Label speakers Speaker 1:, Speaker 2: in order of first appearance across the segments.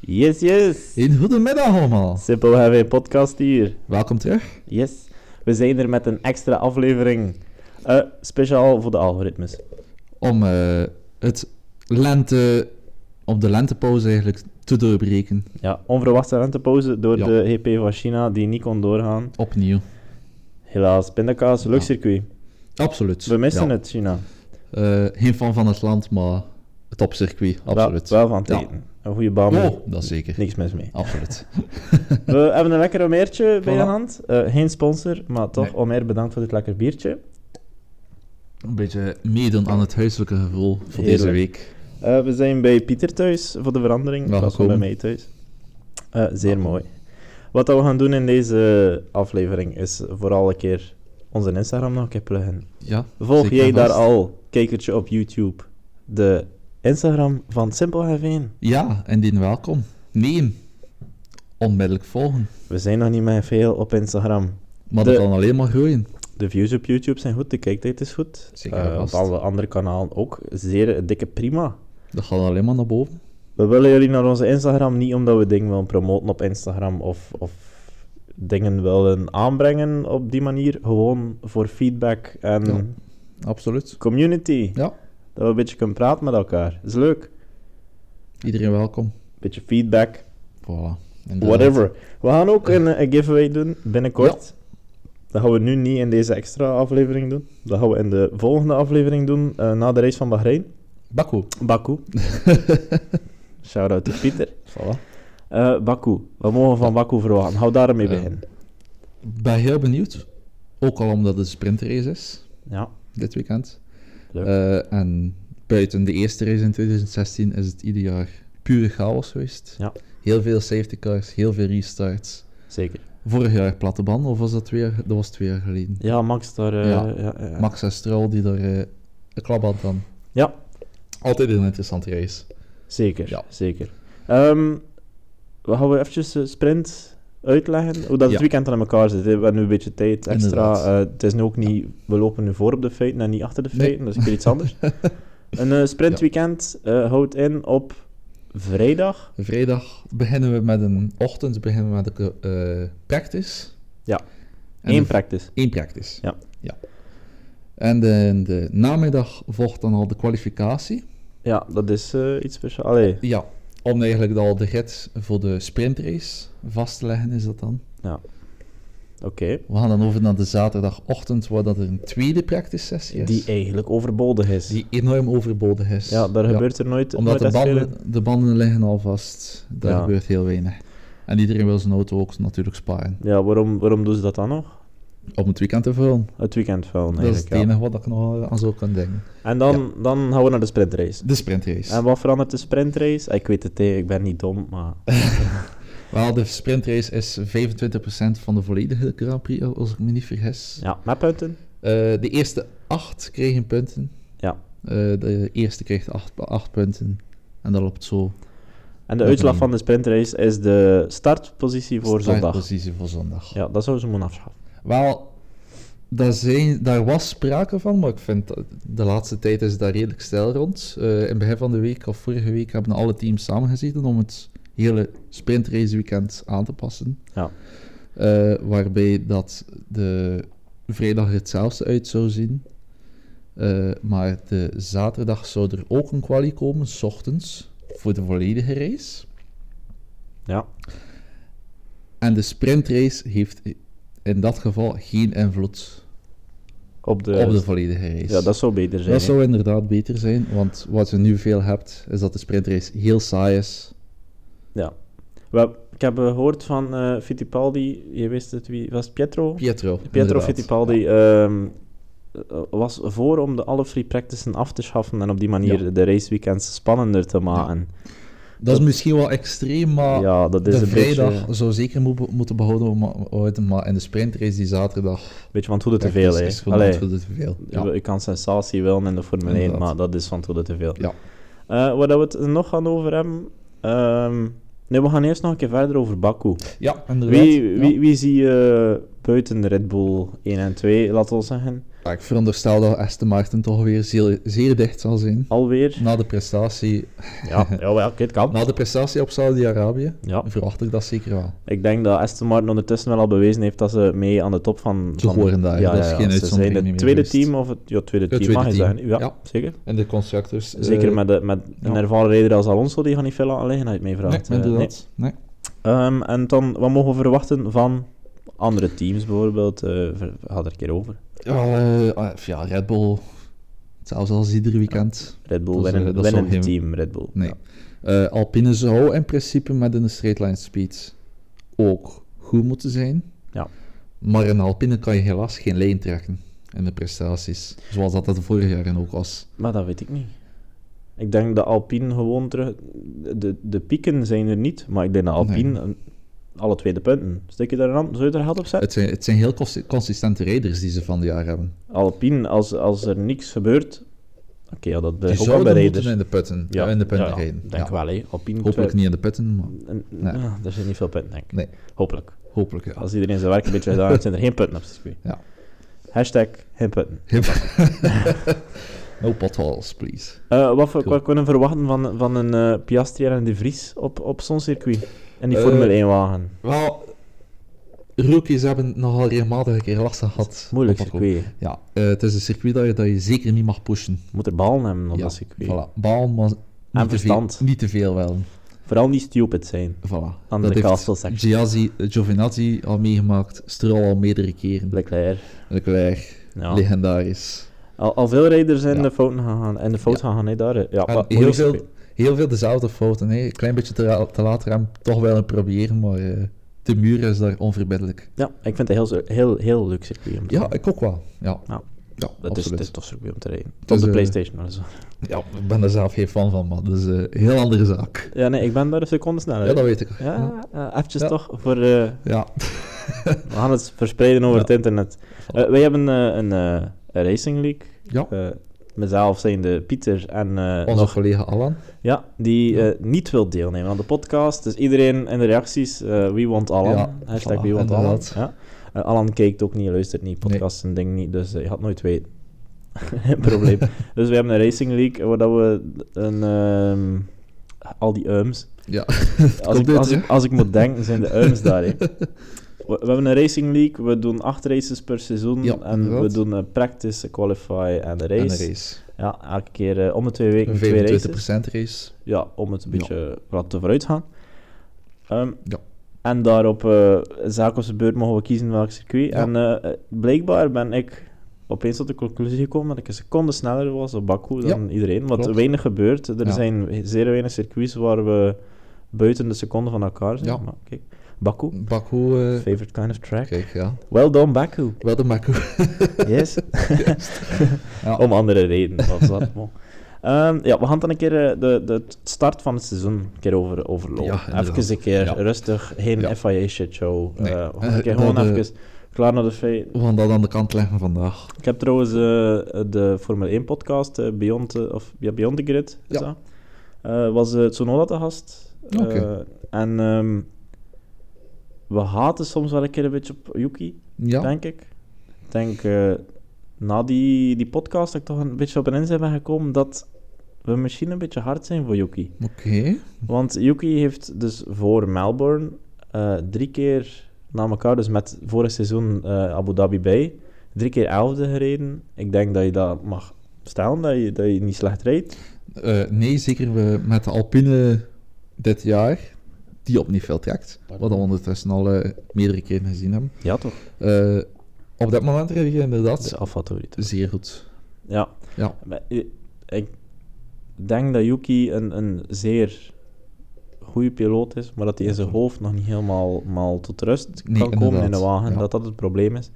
Speaker 1: Yes, yes.
Speaker 2: Een goedemiddag allemaal.
Speaker 1: Simpel HV podcast hier.
Speaker 2: Welkom terug.
Speaker 1: Yes. We zijn er met een extra aflevering. Eh, speciaal voor de algoritmes.
Speaker 2: Om eh, het lente, om de lentepauze eigenlijk te doorbreken.
Speaker 1: Ja, onverwachte rentepauze door
Speaker 2: Ja.
Speaker 1: de GP van China die niet kon doorgaan.
Speaker 2: Opnieuw.
Speaker 1: Helaas, pindakaas, luchtcircuit.
Speaker 2: Absoluut.
Speaker 1: We missen
Speaker 2: Ja.
Speaker 1: het, China.
Speaker 2: Eh, geen fan van het land, maar het opcircuit. Absoluut.
Speaker 1: Wel, wel van
Speaker 2: Ja.
Speaker 1: teken. Een goede baan.
Speaker 2: Oh, dat zeker.
Speaker 1: Niks mis mee.
Speaker 2: Absoluut.
Speaker 1: We hebben een lekker omeertje bij de
Speaker 2: Voilà.
Speaker 1: hand. Eh, geen sponsor, maar toch,
Speaker 2: Nee.
Speaker 1: Omer, bedankt voor dit lekker biertje.
Speaker 2: Een beetje meedoen aan het huiselijke gevoel voor
Speaker 1: Heerlijk.
Speaker 2: deze week.
Speaker 1: Eh, we zijn bij Pieter thuis voor de verandering.
Speaker 2: Welkom.
Speaker 1: Dat was bij mij thuis. Eh, zeer mooi. Wat dat we gaan doen in deze aflevering is vooral een keer onze Instagram nog een keer pluggen.
Speaker 2: Ja,
Speaker 1: Volg
Speaker 2: zeker
Speaker 1: jij
Speaker 2: en
Speaker 1: daar
Speaker 2: vast.
Speaker 1: al, kijkertje op YouTube, de Instagram van Simpelweg 1?
Speaker 2: Ja, indien welkom. Neem. Onmiddellijk volgen.
Speaker 1: We zijn nog niet meer veel op Instagram.
Speaker 2: Maar
Speaker 1: De-
Speaker 2: dat kan alleen maar groeien.
Speaker 1: De views op YouTube zijn goed, de kijktijd is goed.
Speaker 2: Zeker
Speaker 1: Eh,
Speaker 2: en
Speaker 1: op
Speaker 2: vast.
Speaker 1: alle andere kanalen ook. Zeer dikke prima.
Speaker 2: Dat gaat alleen maar naar boven.
Speaker 1: We willen jullie naar onze Instagram niet omdat we dingen willen promoten op Instagram of, of dingen willen aanbrengen op die manier. Gewoon voor feedback en
Speaker 2: Ja. Absoluut.
Speaker 1: community.
Speaker 2: Ja.
Speaker 1: Dat we een beetje kunnen praten met elkaar. is leuk.
Speaker 2: Iedereen welkom.
Speaker 1: Beetje feedback,
Speaker 2: Voilà. Inderdaad.
Speaker 1: whatever. We gaan ook een, eh, een giveaway doen binnenkort. Dat gaan we nu niet in deze extra aflevering doen. Dat gaan we in de volgende aflevering doen, eh, na de race van Bahrein.
Speaker 2: Bakko.
Speaker 1: Baku. Shout-out to Pieter.
Speaker 2: Voilà.
Speaker 1: Eh, Baku. Wat mogen we van Baku verwachten? Hou daarmee
Speaker 2: Eh,
Speaker 1: beginnen.
Speaker 2: Ik ben heel benieuwd. Ook al omdat het een sprintrace is,
Speaker 1: Ja.
Speaker 2: dit weekend.
Speaker 1: Leuk.
Speaker 2: Eh, en buiten de eerste race in 2016 is het ieder jaar pure chaos geweest.
Speaker 1: Ja.
Speaker 2: Heel veel safety cars, heel veel restarts.
Speaker 1: Zeker.
Speaker 2: Vorig jaar platte band, of was dat twee jaar, dat was twee jaar geleden?
Speaker 1: Ja, Max daar. eh,
Speaker 2: Ja.
Speaker 1: ja, ja, ja.
Speaker 2: Max en Stroll die daar eh, een klap had dan.
Speaker 1: Ja.
Speaker 2: Altijd een interessante race.
Speaker 1: Zeker.
Speaker 2: Ja.
Speaker 1: Zeker. Ehm, we gaan weer eventjes eh, sprint uitleggen. Hoe dat het
Speaker 2: Ja.
Speaker 1: weekend aan elkaar zit. hè. We hebben nu een beetje tijd extra.
Speaker 2: Inderdaad.
Speaker 1: Eh, het is nu ook niet. We lopen nu voor op de feiten en niet achter de
Speaker 2: Nee.
Speaker 1: feiten. Dat is een keer iets anders. een eh, sprintweekend eh, houdt in op vrijdag.
Speaker 2: Vrijdag beginnen we met een ochtend, beginnen we met een eh, practice.
Speaker 1: Ja.
Speaker 2: En
Speaker 1: Eén
Speaker 2: de-
Speaker 1: practice.
Speaker 2: één practice.
Speaker 1: Ja.
Speaker 2: ja. En de, de namiddag volgt dan al de kwalificatie.
Speaker 1: Ja, dat is eh, iets speciaals. Allee,
Speaker 2: Ja, om eigenlijk al de gids voor de sprintrace vast te leggen is dat dan.
Speaker 1: oké.
Speaker 2: We gaan dan over naar de zaterdagochtend, waar dat er een tweede practice sessie is.
Speaker 1: Die eigenlijk overbodig is.
Speaker 2: die enorm overbodig is.
Speaker 1: Ja, daar gebeurt er nooit.
Speaker 2: Omdat de
Speaker 1: nooit echt veel in.
Speaker 2: banden, de banden liggen al vast. Daar
Speaker 1: Ja.
Speaker 2: gebeurt heel weinig. En iedereen wil zijn auto ook natuurlijk sparen.
Speaker 1: Ja, waarom, waarom doen ze dat dan nog?
Speaker 2: Om het weekend te vullen.
Speaker 1: Het weekend wel,
Speaker 2: dat is
Speaker 1: eigenlijk.
Speaker 2: het
Speaker 1: ja.
Speaker 2: enige wat ik nog aan zou kunnen denken.
Speaker 1: En dan, dan gaan we naar de sprintrace.
Speaker 2: De sprintrace.
Speaker 1: En wat verandert de sprintrace? Ik weet het, hè, ik ben niet dom, maar...
Speaker 2: Wel, de sprintrace is 25% van de volledige Grand Prix, als ik me niet vergis.
Speaker 1: Ja, met punten.
Speaker 2: Eh, de eerste acht kregen punten.
Speaker 1: Ja.
Speaker 2: Eh, de eerste kreeg acht, acht punten. En dat loopt zo.
Speaker 1: En de
Speaker 2: Dat
Speaker 1: uitslag
Speaker 2: niet.
Speaker 1: van de sprintrace is de startpositie voor zondag.
Speaker 2: Precies voor zondag.
Speaker 1: Ja, dat zouden ze moeten afschaffen.
Speaker 2: Wel, daar, zijn, daar was sprake van, maar ik vind dat de laatste tijd is daar redelijk stijl rond. Eh, in het begin van de week of vorige week hebben alle teams samengezeten om het hele sprintrace weekend aan te passen.
Speaker 1: Ja.
Speaker 2: Eh, waarbij dat de vrijdag er hetzelfde uit zou zien. Eh, maar de zaterdag zou er ook een quali komen, s ochtends, voor de volledige race.
Speaker 1: Ja,
Speaker 2: En de sprintrace heeft in dat geval geen invloed
Speaker 1: op de...
Speaker 2: op de volledige race.
Speaker 1: dus- ja, dat zou beter zijn.
Speaker 2: Dat
Speaker 1: hè.
Speaker 2: zou inderdaad beter zijn, want wat je nu veel hebt, is dat de sprintrace heel saai is.
Speaker 1: Wel, ik heb eh, gehoord van eh Fittipaldi, je wist het wie... Was het Pietro?
Speaker 2: Pietro.
Speaker 1: Pietro
Speaker 2: inderdaad.
Speaker 1: Fittipaldi ehm, was voor om de alle free practices af te schaffen en op die manier de raceweekends spannender te maken.
Speaker 2: Dat is misschien wel extreem, maar
Speaker 1: ja, dat is
Speaker 2: Ah, de
Speaker 1: een
Speaker 2: vrijdag
Speaker 1: beetje,
Speaker 2: zou zeker moe- moeten behouden, om- houden, maar in de sprintrace die zaterdag...
Speaker 1: beetje van het goede te veel.
Speaker 2: is-
Speaker 1: hè.
Speaker 2: is gewoon
Speaker 1: Allee,
Speaker 2: het goede te veel. Ja.
Speaker 1: Je kan sensatie willen in de Formule 1,
Speaker 2: Inderdaad.
Speaker 1: maar dat is van het goede te veel.
Speaker 2: Ja.
Speaker 1: Eh, waar dat we het nog gaan over hebben... ehm, nee, we gaan eerst nog een keer verder over Baku.
Speaker 2: ja, inderdaad.
Speaker 1: Wie,
Speaker 2: Ja.
Speaker 1: wie, wie zie je buiten Red Bull 1 en 2, laten we zeggen?
Speaker 2: Ja, ik veronderstel dat Aston Martin toch weer zeer, zeer dicht zal zijn.
Speaker 1: Alweer.
Speaker 2: Na de prestatie,
Speaker 1: Ja, jawel, oké, het kan.
Speaker 2: na de prestatie op Saudi-Arabië
Speaker 1: Ja.
Speaker 2: verwacht ik dat zeker wel.
Speaker 1: Ik denk dat Aston Martin ondertussen wel al bewezen heeft dat ze mee aan de top van...
Speaker 2: Ze
Speaker 1: van-
Speaker 2: horen daar, dat is geen
Speaker 1: Ze zijn
Speaker 2: uitzondering
Speaker 1: het
Speaker 2: meer
Speaker 1: tweede
Speaker 2: geweest.
Speaker 1: team, of het... Ja, tweede team,
Speaker 2: tweede
Speaker 1: mag je
Speaker 2: team.
Speaker 1: zeggen. Ja,
Speaker 2: Ja.
Speaker 1: zeker.
Speaker 2: En de constructors... eh,
Speaker 1: Zeker met, de, met een
Speaker 2: ja.
Speaker 1: ervaren rijder als Alonso, die gaat niet veel aan liggen, als je het mij
Speaker 2: Nee,
Speaker 1: vraagt. Eh,
Speaker 2: inderdaad. Nee.
Speaker 1: nee. Ehm, en dan, wat mogen we verwachten van andere teams bijvoorbeeld? Eh, ver- gaat er een keer over.
Speaker 2: Ja, eh, eh, ja, Red Bull, zelfs als ieder weekend.
Speaker 1: Red Bull,
Speaker 2: Dat is, eh,
Speaker 1: winnen,
Speaker 2: dat is
Speaker 1: winnen
Speaker 2: wel geen-
Speaker 1: team, Red Bull.
Speaker 2: Nee.
Speaker 1: Ja.
Speaker 2: Eh, Alpine zou in principe met een straight line speed ook goed moeten zijn.
Speaker 1: Ja.
Speaker 2: Maar in Alpine kan je helaas geen lijn trekken in de prestaties. Zoals dat dat vorig jaar ook was.
Speaker 1: Maar dat weet ik niet. Ik denk dat Alpine gewoon terug... De, de pieken zijn er niet, maar ik denk dat Alpine... een- Alle twee de punten. Stik je daar een hand, zou je er geld op zetten?
Speaker 2: Het zijn, het zijn heel consi- consistente rijders die ze van het jaar hebben.
Speaker 1: Alpine, als, als er niks gebeurt... Oké, ja, dat
Speaker 2: Die
Speaker 1: blijft ook wel bij
Speaker 2: zouden moeten
Speaker 1: rijders.
Speaker 2: in de putten, ja. in de punten rijden.
Speaker 1: denk
Speaker 2: Ja.
Speaker 1: wel, hè. Alpine...
Speaker 2: Hopelijk niet in de putten, maar
Speaker 1: En-
Speaker 2: Nee.
Speaker 1: ja, er zijn niet veel punten, denk ik.
Speaker 2: Nee.
Speaker 1: Hopelijk.
Speaker 2: hopelijk ja.
Speaker 1: Als iedereen zijn werk een beetje gedaan heeft, zijn er geen punten op het circuit.
Speaker 2: Ja.
Speaker 1: Hashtag geen punten.
Speaker 2: No potholes, please.
Speaker 1: Eh, wat, we-
Speaker 2: Cool.
Speaker 1: wat kunnen we verwachten van, van een eh, Piastri en De Vries op, op zo'n circuit? En die
Speaker 2: Eh,
Speaker 1: Formule 1-wagen.
Speaker 2: Wel, rookies hebben nogal regelmatig een keer last gehad.
Speaker 1: Moeilijk
Speaker 2: Op-
Speaker 1: circuit. hè.
Speaker 2: Ja, eh, het is een circuit dat je, dat je zeker niet mag pushen.
Speaker 1: Je moet er ballen hebben op
Speaker 2: ja,
Speaker 1: dat circuit.
Speaker 2: Voilà. Baal, maar niet, te veel,
Speaker 1: verstand.
Speaker 2: niet te veel wel.
Speaker 1: Vooral niet stupid zijn.
Speaker 2: Voilà.
Speaker 1: Aan de
Speaker 2: heeft
Speaker 1: castle section.
Speaker 2: Giazzi, eh, Giovinazzi al meegemaakt. Stroll al meerdere keren.
Speaker 1: Leclerc.
Speaker 2: Leclerc,
Speaker 1: Ja.
Speaker 2: legendarisch.
Speaker 1: Al, al veel rijders zijn
Speaker 2: Ja.
Speaker 1: de fouten gegaan. En de fout gegaan, hè, daar. hè. Ja,
Speaker 2: En
Speaker 1: maar
Speaker 2: heel,
Speaker 1: moeilijk
Speaker 2: veel,
Speaker 1: circuit.
Speaker 2: heel veel dezelfde fouten. Hè. Een klein beetje te, ra- te laat rem, toch wel een proberen, maar eh, de muur is daar onverbiddelijk.
Speaker 1: Ja, ik vind het een heel, heel, heel leuk circuit om te
Speaker 2: Ja, ik ook wel. Ja,
Speaker 1: Ja.
Speaker 2: ja
Speaker 1: Dat is,
Speaker 2: absoluut.
Speaker 1: het is toch circuit om te rijden. Op
Speaker 2: is,
Speaker 1: de
Speaker 2: eh,
Speaker 1: Playstation of zo.
Speaker 2: Ja, ik ben er zelf geen fan van, man. Dat is eh, een heel andere zaak.
Speaker 1: Ja, nee, ik ben daar een seconde sneller.
Speaker 2: Ja, dat weet ik.
Speaker 1: Ja, eh, eventjes
Speaker 2: Ja.
Speaker 1: toch voor... eh,
Speaker 2: Ja.
Speaker 1: we gaan het verspreiden over
Speaker 2: Ja.
Speaker 1: het internet. Eh, wij hebben eh, een, eh, een Racing League.
Speaker 2: Ja.
Speaker 1: Eh, mezelf zijn de Pieter en eh,
Speaker 2: Onze
Speaker 1: nog...
Speaker 2: collega Alan.
Speaker 1: Ja, die eh, niet wil deelnemen aan de podcast. Dus iedereen in de reacties, eh wie want Alan.
Speaker 2: Ja,
Speaker 1: Hashtag
Speaker 2: voilà,
Speaker 1: wie want Alan.
Speaker 2: inderdaad.
Speaker 1: Ja. Eh, Alan kijkt ook niet, luistert niet, podcast en ding niet. Dus eh, je gaat nooit weten. Geen probleem. dus we hebben een Racing League eh, waar dat we een... ehm, al die ums
Speaker 2: Ja.
Speaker 1: als, ik,
Speaker 2: Komt
Speaker 1: als,
Speaker 2: dit,
Speaker 1: ik, als ik moet denken, zijn de uims daar. hè. We, we hebben een Racing League, we doen acht races per seizoen.
Speaker 2: Ja,
Speaker 1: en we
Speaker 2: inderdaad.
Speaker 1: doen een practice, een qualify en de race.
Speaker 2: En een race.
Speaker 1: Ja, elke keer eh, om de twee weken
Speaker 2: Een
Speaker 1: twee races.
Speaker 2: 25% race.
Speaker 1: Ja, om het een
Speaker 2: Ja.
Speaker 1: beetje wat te vooruit te gaan. Ehm,
Speaker 2: Ja.
Speaker 1: En daarop, eh zaak op zijn beurt, mogen we kiezen welk circuit.
Speaker 2: Ja.
Speaker 1: En eh, eh, blijkbaar ben ik opeens tot de conclusie gekomen dat ik een seconde sneller was op Baku dan iedereen. Wat
Speaker 2: klopt.
Speaker 1: weinig gebeurt. Er
Speaker 2: Ja.
Speaker 1: zijn zeer weinig circuits waar we buiten de seconde van elkaar zijn.
Speaker 2: Ja.
Speaker 1: Maar kijk, Baku,
Speaker 2: Baku. eh,
Speaker 1: favorite kind of track.
Speaker 2: kijk, ja.
Speaker 1: Well done, Baku.
Speaker 2: Wel de Baku.
Speaker 1: Yes.
Speaker 2: Ja.
Speaker 1: Om andere redenen was dat. maar. Ehm, ja, we gaan dan een keer eh, de, de start van het seizoen een keer over, overlopen.
Speaker 2: Ja, inderdaad.
Speaker 1: even een keer
Speaker 2: Ja.
Speaker 1: rustig, geen
Speaker 2: Ja.
Speaker 1: FIA shit show.
Speaker 2: Nee.
Speaker 1: we gaan een keer
Speaker 2: Eh,
Speaker 1: gewoon
Speaker 2: dat, eh,
Speaker 1: even klaar naar de feit.
Speaker 2: We gaan dat aan de kant leggen vandaag.
Speaker 1: Ik heb trouwens eh, de Formule 1 podcast, eh, Beyond, eh, of, ja, Beyond the Grid, is
Speaker 2: Ja.
Speaker 1: dat? Eh, was eh Tsunoda te gast. Eh,
Speaker 2: Oké.
Speaker 1: en ehm, we haten soms wel een keer een beetje op Yuki
Speaker 2: Ja.
Speaker 1: denk ik. Ik denk eh, na die, die podcast dat ik toch een beetje op een inzicht ben gekomen dat we misschien een beetje hard zijn voor Yuki.
Speaker 2: Oké.
Speaker 1: Want Yuki heeft dus voor Melbourne eh, drie keer na elkaar, dus met vorig seizoen eh, Abu Dhabi bij, drie keer elfde gereden. Ik denk dat je dat mag stellen, dat je, dat je niet slecht rijdt.
Speaker 2: Eh, nee, zeker we met de Alpine dit jaar. Die op niet veel trekt. Wat we ondertussen al eh, meerdere keren gezien hebben.
Speaker 1: Ja, toch?
Speaker 2: Eh, op dat moment reed je
Speaker 1: Dat
Speaker 2: inderdaad
Speaker 1: is alfa-favoriet.
Speaker 2: zeer goed.
Speaker 1: Ja.
Speaker 2: Ja.
Speaker 1: Maar i- Ik denk dat Yuki een, een zeer goede piloot is, maar dat hij in zijn hoofd nog niet helemaal maar tot rust kan
Speaker 2: Nee,
Speaker 1: komen in de
Speaker 2: inderdaad,
Speaker 1: wagen.
Speaker 2: ja.
Speaker 1: Dat dat het probleem is.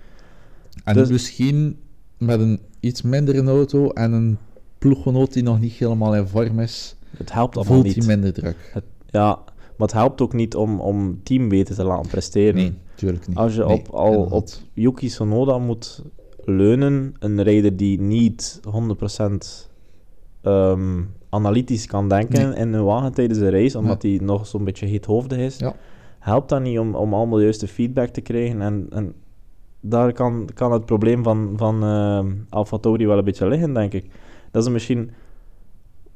Speaker 2: En
Speaker 1: Dus-
Speaker 2: misschien met een iets mindere auto en een ploeggenoot die nog niet helemaal in vorm is,
Speaker 1: Het helpt allemaal
Speaker 2: voelt hij
Speaker 1: niet.
Speaker 2: minder druk.
Speaker 1: Ja, maar het helpt ook niet om, om team beter te laten presteren.
Speaker 2: Nee, tuurlijk niet.
Speaker 1: Als je
Speaker 2: Nee,
Speaker 1: op, al op
Speaker 2: inderdaad.
Speaker 1: Yuki Sonoda moet leunen, een rijder die niet 100% ehm, analytisch kan denken in een wagen tijdens de race, omdat hij nog zo'n beetje heethoofdig is,
Speaker 2: Ja.
Speaker 1: helpt dat niet om, om allemaal de juiste feedback te krijgen. En, en daar kan, kan het probleem van, van eh AlphaTauri wel een beetje liggen, denk ik. Dat ze misschien...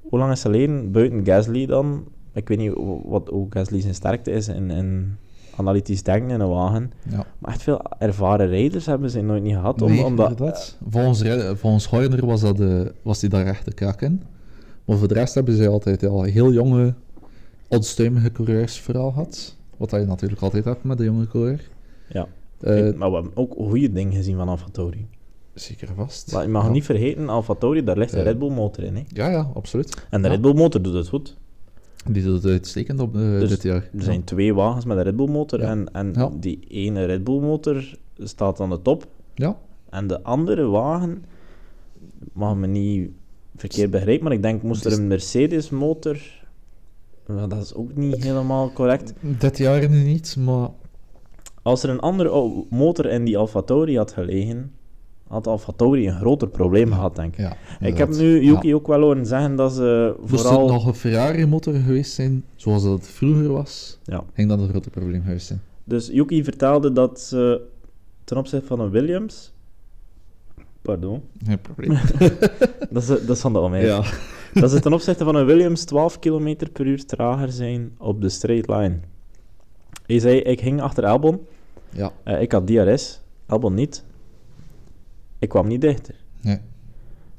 Speaker 1: Hoe lang is ze alleen buiten Gasly dan? Ik weet niet hoe- wat hoe Gasly zijn sterkte is in, in analytisch denken in een wagen.
Speaker 2: Ja.
Speaker 1: Maar echt veel ervaren rijders hebben ze nooit niet gehad. om-
Speaker 2: Nee,
Speaker 1: omdat,
Speaker 2: inderdaad. volgens, Red- volgens Horner was, dat de, was die daar echt de krak in. Maar voor de rest hebben ze altijd al heel jonge, onstuimige coureurs vooral gehad. Wat dat je natuurlijk altijd hebt met de jonge coureur.
Speaker 1: Ja.
Speaker 2: Eh,
Speaker 1: maar we hebben ook goede dingen gezien van AlphaTauri.
Speaker 2: zeker vast.
Speaker 1: Maar je mag
Speaker 2: ja.
Speaker 1: niet vergeten, AlphaTauri, daar ligt een
Speaker 2: Ja.
Speaker 1: Red Bull motor in. Hè.
Speaker 2: Ja, ja, absoluut.
Speaker 1: En de
Speaker 2: Ja.
Speaker 1: Red Bull motor doet het goed.
Speaker 2: Die doet het uitstekend op eh,
Speaker 1: Dus
Speaker 2: dit jaar.
Speaker 1: Er zijn twee wagens met een Red Bull motor.
Speaker 2: Ja.
Speaker 1: En, en
Speaker 2: Ja.
Speaker 1: die ene Red Bull motor staat aan de top.
Speaker 2: Ja,
Speaker 1: En de andere wagen, mag me niet verkeerd begrijpen, maar ik denk moest er een Mercedes motor. maar dat is ook niet helemaal correct.
Speaker 2: dit jaar nu niet, maar
Speaker 1: Als er een andere o- motor in die AlphaTauri had gelegen, had AlphaTauri een groter probleem gehad, denk ik.
Speaker 2: ja.
Speaker 1: Ik heb
Speaker 2: inderdaad.
Speaker 1: nu Yuki
Speaker 2: Ja.
Speaker 1: ook wel horen zeggen dat ze
Speaker 2: Moest
Speaker 1: vooral...
Speaker 2: het nog een Ferrari-motor geweest zijn, zoals dat het vroeger was,
Speaker 1: Ja.
Speaker 2: ging dat een grote probleem geweest zijn.
Speaker 1: Dus Yuki vertelde dat ze ten opzichte van een Williams... Pardon.
Speaker 2: Geen probleem.
Speaker 1: Dat is, dat is van de omheid.
Speaker 2: ja.
Speaker 1: Dat ze ten opzichte van een Williams 12 km per uur trager zijn op de straight line. Hij zei, ik ging achter Albon.
Speaker 2: Ja.
Speaker 1: Eh, ik had DRS. Albon niet. Ik kwam niet dichter.
Speaker 2: Nee.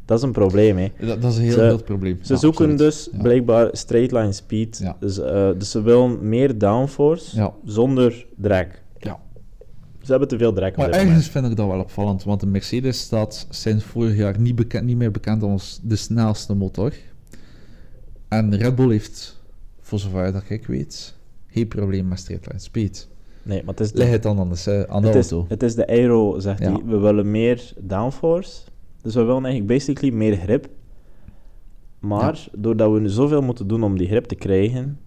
Speaker 1: Dat is een probleem, hè.
Speaker 2: Dat, dat is een heel
Speaker 1: Ze-
Speaker 2: groot probleem.
Speaker 1: Ze
Speaker 2: Ja,
Speaker 1: zoeken
Speaker 2: absoluut.
Speaker 1: dus
Speaker 2: Ja.
Speaker 1: blijkbaar straight line speed.
Speaker 2: Ja.
Speaker 1: Dus, eh, dus ze willen meer downforce
Speaker 2: Ja.
Speaker 1: zonder drag.
Speaker 2: Ja.
Speaker 1: Ze hebben te veel drag op
Speaker 2: Maar
Speaker 1: dit moment.
Speaker 2: ergens vind ik dat wel opvallend, want de Mercedes staat sinds vorig jaar niet, bekend, niet meer bekend als de snelste motor. En Red Bull heeft, voor zover dat ik weet, geen probleem met straight line speed.
Speaker 1: Nee, maar het is
Speaker 2: Leg
Speaker 1: de,
Speaker 2: het dan aan de, se- aan de
Speaker 1: het is,
Speaker 2: auto.
Speaker 1: het is de aero, zegt
Speaker 2: Ja.
Speaker 1: hij. We willen meer downforce. Dus we willen eigenlijk basically meer grip. Maar doordat we nu zoveel moeten doen om die grip te krijgen...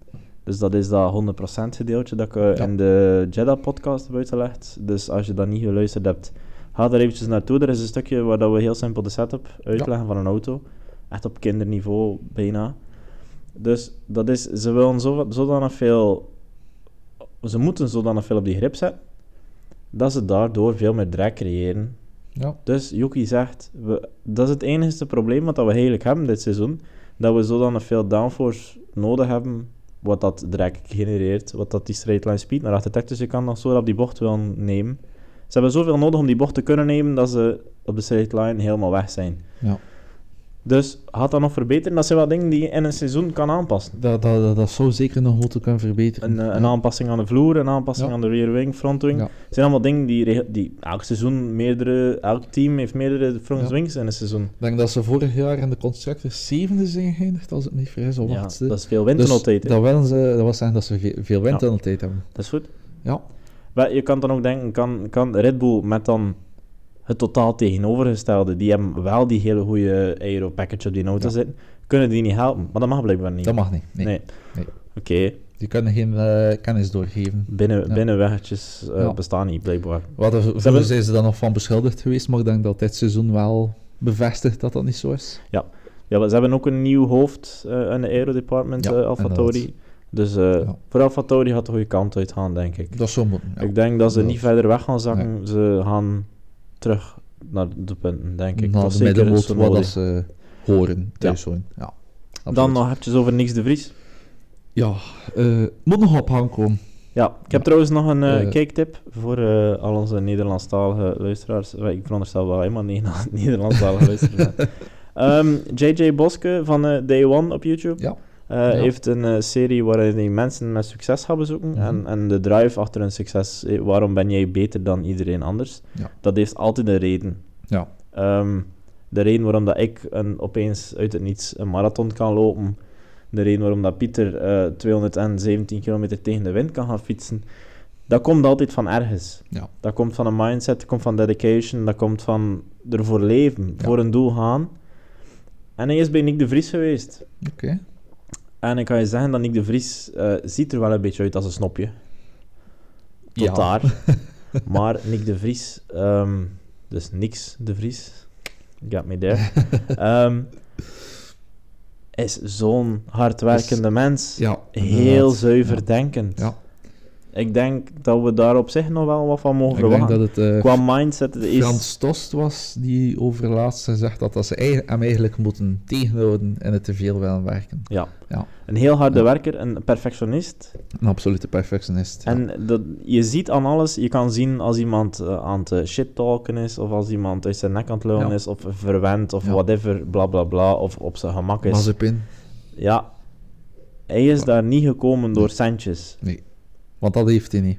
Speaker 1: Dus dat is dat 100% gedeeltje dat ik eh,
Speaker 2: Ja.
Speaker 1: in de Jeddah-podcast heb uitgelegd. Dus als je dat niet geluisterd hebt, ga daar eventjes naartoe. Er is een stukje waar dat we heel simpel de setup uitleggen van een auto. Echt op kinderniveau, bijna. Dus dat is, ze willen zo, zodanig veel... Ze moeten zodanig veel op die grip zetten, dat ze daardoor veel meer drag creëren.
Speaker 2: Ja.
Speaker 1: Dus Yuki zegt, we, dat is het enige probleem wat dat we eigenlijk hebben dit seizoen. Dat we zodanig veel downforce nodig hebben, wat dat drag genereert, wat dat die straight line speed naar achter trekt. Dus je kan dan zo op die bocht wel nemen. Ze hebben zoveel nodig om die bocht te kunnen nemen, dat ze op de straight line helemaal weg zijn.
Speaker 2: Ja.
Speaker 1: Dus gaat dat nog verbeteren? Dat zijn wel dingen die je in een seizoen kan aanpassen.
Speaker 2: Dat, dat, dat, dat zou zeker nog moeten kunnen verbeteren.
Speaker 1: Een, eh, een aanpassing aan de vloer, een aanpassing
Speaker 2: Ja.
Speaker 1: aan de rear wing, front wing.
Speaker 2: Ja.
Speaker 1: Het zijn allemaal dingen die, reg- die elk seizoen meerdere, elk team heeft meerdere front
Speaker 2: Ja.
Speaker 1: wings in een seizoen.
Speaker 2: Ik denk dat ze vorig jaar in de constructors zevende zijn geëindigd, als ik me niet vergis, of
Speaker 1: Ja,
Speaker 2: achtste.
Speaker 1: dat is veel windtunneltijd.
Speaker 2: Oh, Dus
Speaker 1: hè.
Speaker 2: dat, willen ze, dat wil zeggen dat ze ve- veel windtunneltijd hebben.
Speaker 1: dat is goed.
Speaker 2: Ja.
Speaker 1: Maar je kan dan ook denken, kan, kan Red Bull met dan het totaal tegenovergestelde, die hebben wel die hele goede aero package op die auto
Speaker 2: Ja.
Speaker 1: zitten, kunnen die niet helpen? Maar dat mag blijkbaar niet.
Speaker 2: dat mag niet. Nee.
Speaker 1: Nee.
Speaker 2: Nee.
Speaker 1: Oké,
Speaker 2: Die kunnen geen eh, kennis doorgeven.
Speaker 1: binnen,
Speaker 2: Ja.
Speaker 1: binnenweggetjes eh,
Speaker 2: Ja.
Speaker 1: bestaan niet, blijkbaar.
Speaker 2: Wat er, vroeger
Speaker 1: hebben-
Speaker 2: zijn ze dan nog van beschuldigd geweest, maar ik denk dat dit seizoen wel bevestigt dat dat niet zo is.
Speaker 1: Ja, maar ze hebben ook een nieuw hoofd eh in de aero department,
Speaker 2: Ja,
Speaker 1: eh AlphaTauri. Dus eh
Speaker 2: Ja.
Speaker 1: voor AlphaTauri gaat de goede kant uit gaan, denk ik.
Speaker 2: Dat zou moeten. ja.
Speaker 1: Ik denk dat ze niet
Speaker 2: Dat-
Speaker 1: verder weg gaan zakken. Ze gaan terug naar de punten, denk ik. Dat
Speaker 2: Na de
Speaker 1: is zeker
Speaker 2: middenmoot,
Speaker 1: zo
Speaker 2: wat
Speaker 1: nodig.
Speaker 2: dat ze horen, thuis horen. Ja.
Speaker 1: Dan
Speaker 2: Absoluut.
Speaker 1: nog heb je over niks de Vries.
Speaker 2: Ja, eh, moet nog op gang komen.
Speaker 1: Ja, ik heb trouwens nog een eh
Speaker 2: Eh.
Speaker 1: kijktip voor eh, al onze Nederlandstalige luisteraars. Wel, Ik veronderstel wel helemaal niet Nederlandstalige luisteraars. Ehm, JJ Boske van eh, Day One op YouTube
Speaker 2: Ja.
Speaker 1: eh,
Speaker 2: Ja.
Speaker 1: heeft een eh, serie waarin hij mensen met succes gaat bezoeken.
Speaker 2: Mhm.
Speaker 1: en, en de drive achter hun succes. eh, waarom ben jij beter dan iedereen anders?
Speaker 2: Ja.
Speaker 1: Dat heeft altijd een reden.
Speaker 2: Ja.
Speaker 1: Ehm, de reden waarom dat ik een, opeens uit het niets een marathon kan lopen. De reden waarom dat Pieter eh, 217 kilometer tegen de wind kan gaan fietsen. Dat komt altijd van ergens.
Speaker 2: Ja.
Speaker 1: Dat komt van een mindset, dat komt van dedication, dat komt van ervoor leven,
Speaker 2: Ja.
Speaker 1: voor een doel gaan. En hij is bij Nick de Vries geweest.
Speaker 2: Oké.
Speaker 1: En ik kan je zeggen dat Nick de Vries eh, ziet er wel een beetje uit als een snopje. Tot
Speaker 2: Ja.
Speaker 1: daar. Maar Nick de Vries, ehm, dus niks de Vries, got me there, Ehm, is zo'n hardwerkende mens.
Speaker 2: Ja.
Speaker 1: Heel
Speaker 2: inderdaad.
Speaker 1: zuiver
Speaker 2: Ja.
Speaker 1: denkend.
Speaker 2: Ja.
Speaker 1: Ik denk dat we daar op zich nog wel wat van mogen
Speaker 2: Ik denk
Speaker 1: verwachten.
Speaker 2: dat het eh,
Speaker 1: Qua mindset het is...
Speaker 2: Frans Tost was die overlaatst gezegd had dat ze ei- hem eigenlijk moeten tegenhouden en het te veel willen werken.
Speaker 1: Ja.
Speaker 2: Ja.
Speaker 1: Een heel harde
Speaker 2: Ja.
Speaker 1: werker, een perfectionist.
Speaker 2: Een absolute perfectionist. ja.
Speaker 1: En dat, je ziet aan alles, je kan zien als iemand eh, aan het eh, shit-talken is, of als iemand uit zijn nek aan het leunen
Speaker 2: Ja.
Speaker 1: is, of verwend, of
Speaker 2: Ja.
Speaker 1: whatever, bla bla bla, of op zijn gemak is.
Speaker 2: Mazepin.
Speaker 1: Ja. Hij is
Speaker 2: Ja.
Speaker 1: daar niet gekomen door centjes.
Speaker 2: Nee. Want dat heeft hij niet.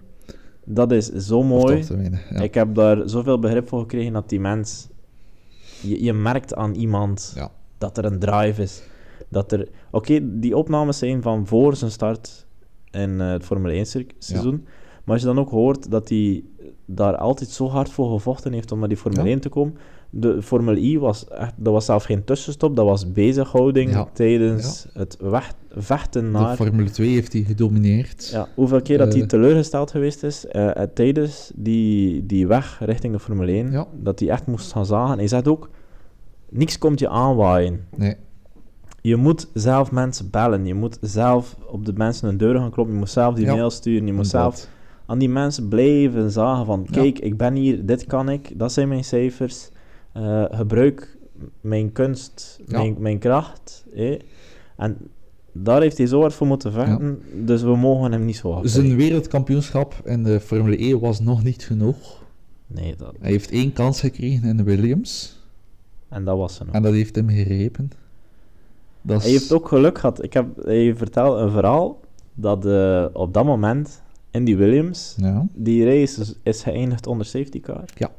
Speaker 1: Dat is zo
Speaker 2: Of
Speaker 1: mooi.
Speaker 2: dat te weinig, ja.
Speaker 1: Ik heb daar zoveel begrip voor gekregen dat die mens... Je, je merkt aan iemand
Speaker 2: Ja.
Speaker 1: dat er een drive is. Dat er... Oké, die opnames zijn van voor zijn start in eh, het Formule 1-seizoen. Maar als je dan ook hoort dat hij daar altijd zo hard voor gevochten heeft om naar die Formule
Speaker 2: Ja.
Speaker 1: 1 te komen. De Formule I was echt... Dat was zelf geen tussenstop, dat was bezighouding
Speaker 2: Ja.
Speaker 1: tijdens het weg- vechten
Speaker 2: De
Speaker 1: naar...
Speaker 2: Formule 2 heeft hij gedomineerd.
Speaker 1: Ja, hoeveel keer dat hij
Speaker 2: Eh.
Speaker 1: teleurgesteld geweest is eh, eh, tijdens die, die weg richting de Formule 1,
Speaker 2: Ja.
Speaker 1: dat hij echt moest gaan zagen. Hij zegt ook, niks komt je aanwaaien.
Speaker 2: Nee.
Speaker 1: Je moet zelf mensen bellen, je moet zelf op de mensen hun deuren gaan kloppen, je moet zelf die
Speaker 2: Ja.
Speaker 1: mail sturen, je moet
Speaker 2: inderdaad.
Speaker 1: zelf aan die mensen blijven zagen van,
Speaker 2: Ja.
Speaker 1: kijk, ik ben hier, dit kan ik, dat zijn mijn cijfers, eh, gebruik mijn kunst,
Speaker 2: Ja.
Speaker 1: mijn, mijn kracht. eh. En daar heeft hij zo hard voor moeten vechten, dus we mogen hem niet zo afwijzen.
Speaker 2: Zijn wereldkampioenschap in de Formule 1 was nog niet genoeg.
Speaker 1: Nee, dat...
Speaker 2: Hij heeft één kans gekregen in de Williams.
Speaker 1: En dat was ze nog.
Speaker 2: En dat heeft hem gerepen. Dat is-
Speaker 1: Hij heeft ook geluk gehad. Ik heb, hij vertelde een verhaal dat eh, op dat moment in die Williams,
Speaker 2: Ja.
Speaker 1: die race is, is geëindigd onder safety car.
Speaker 2: Ja.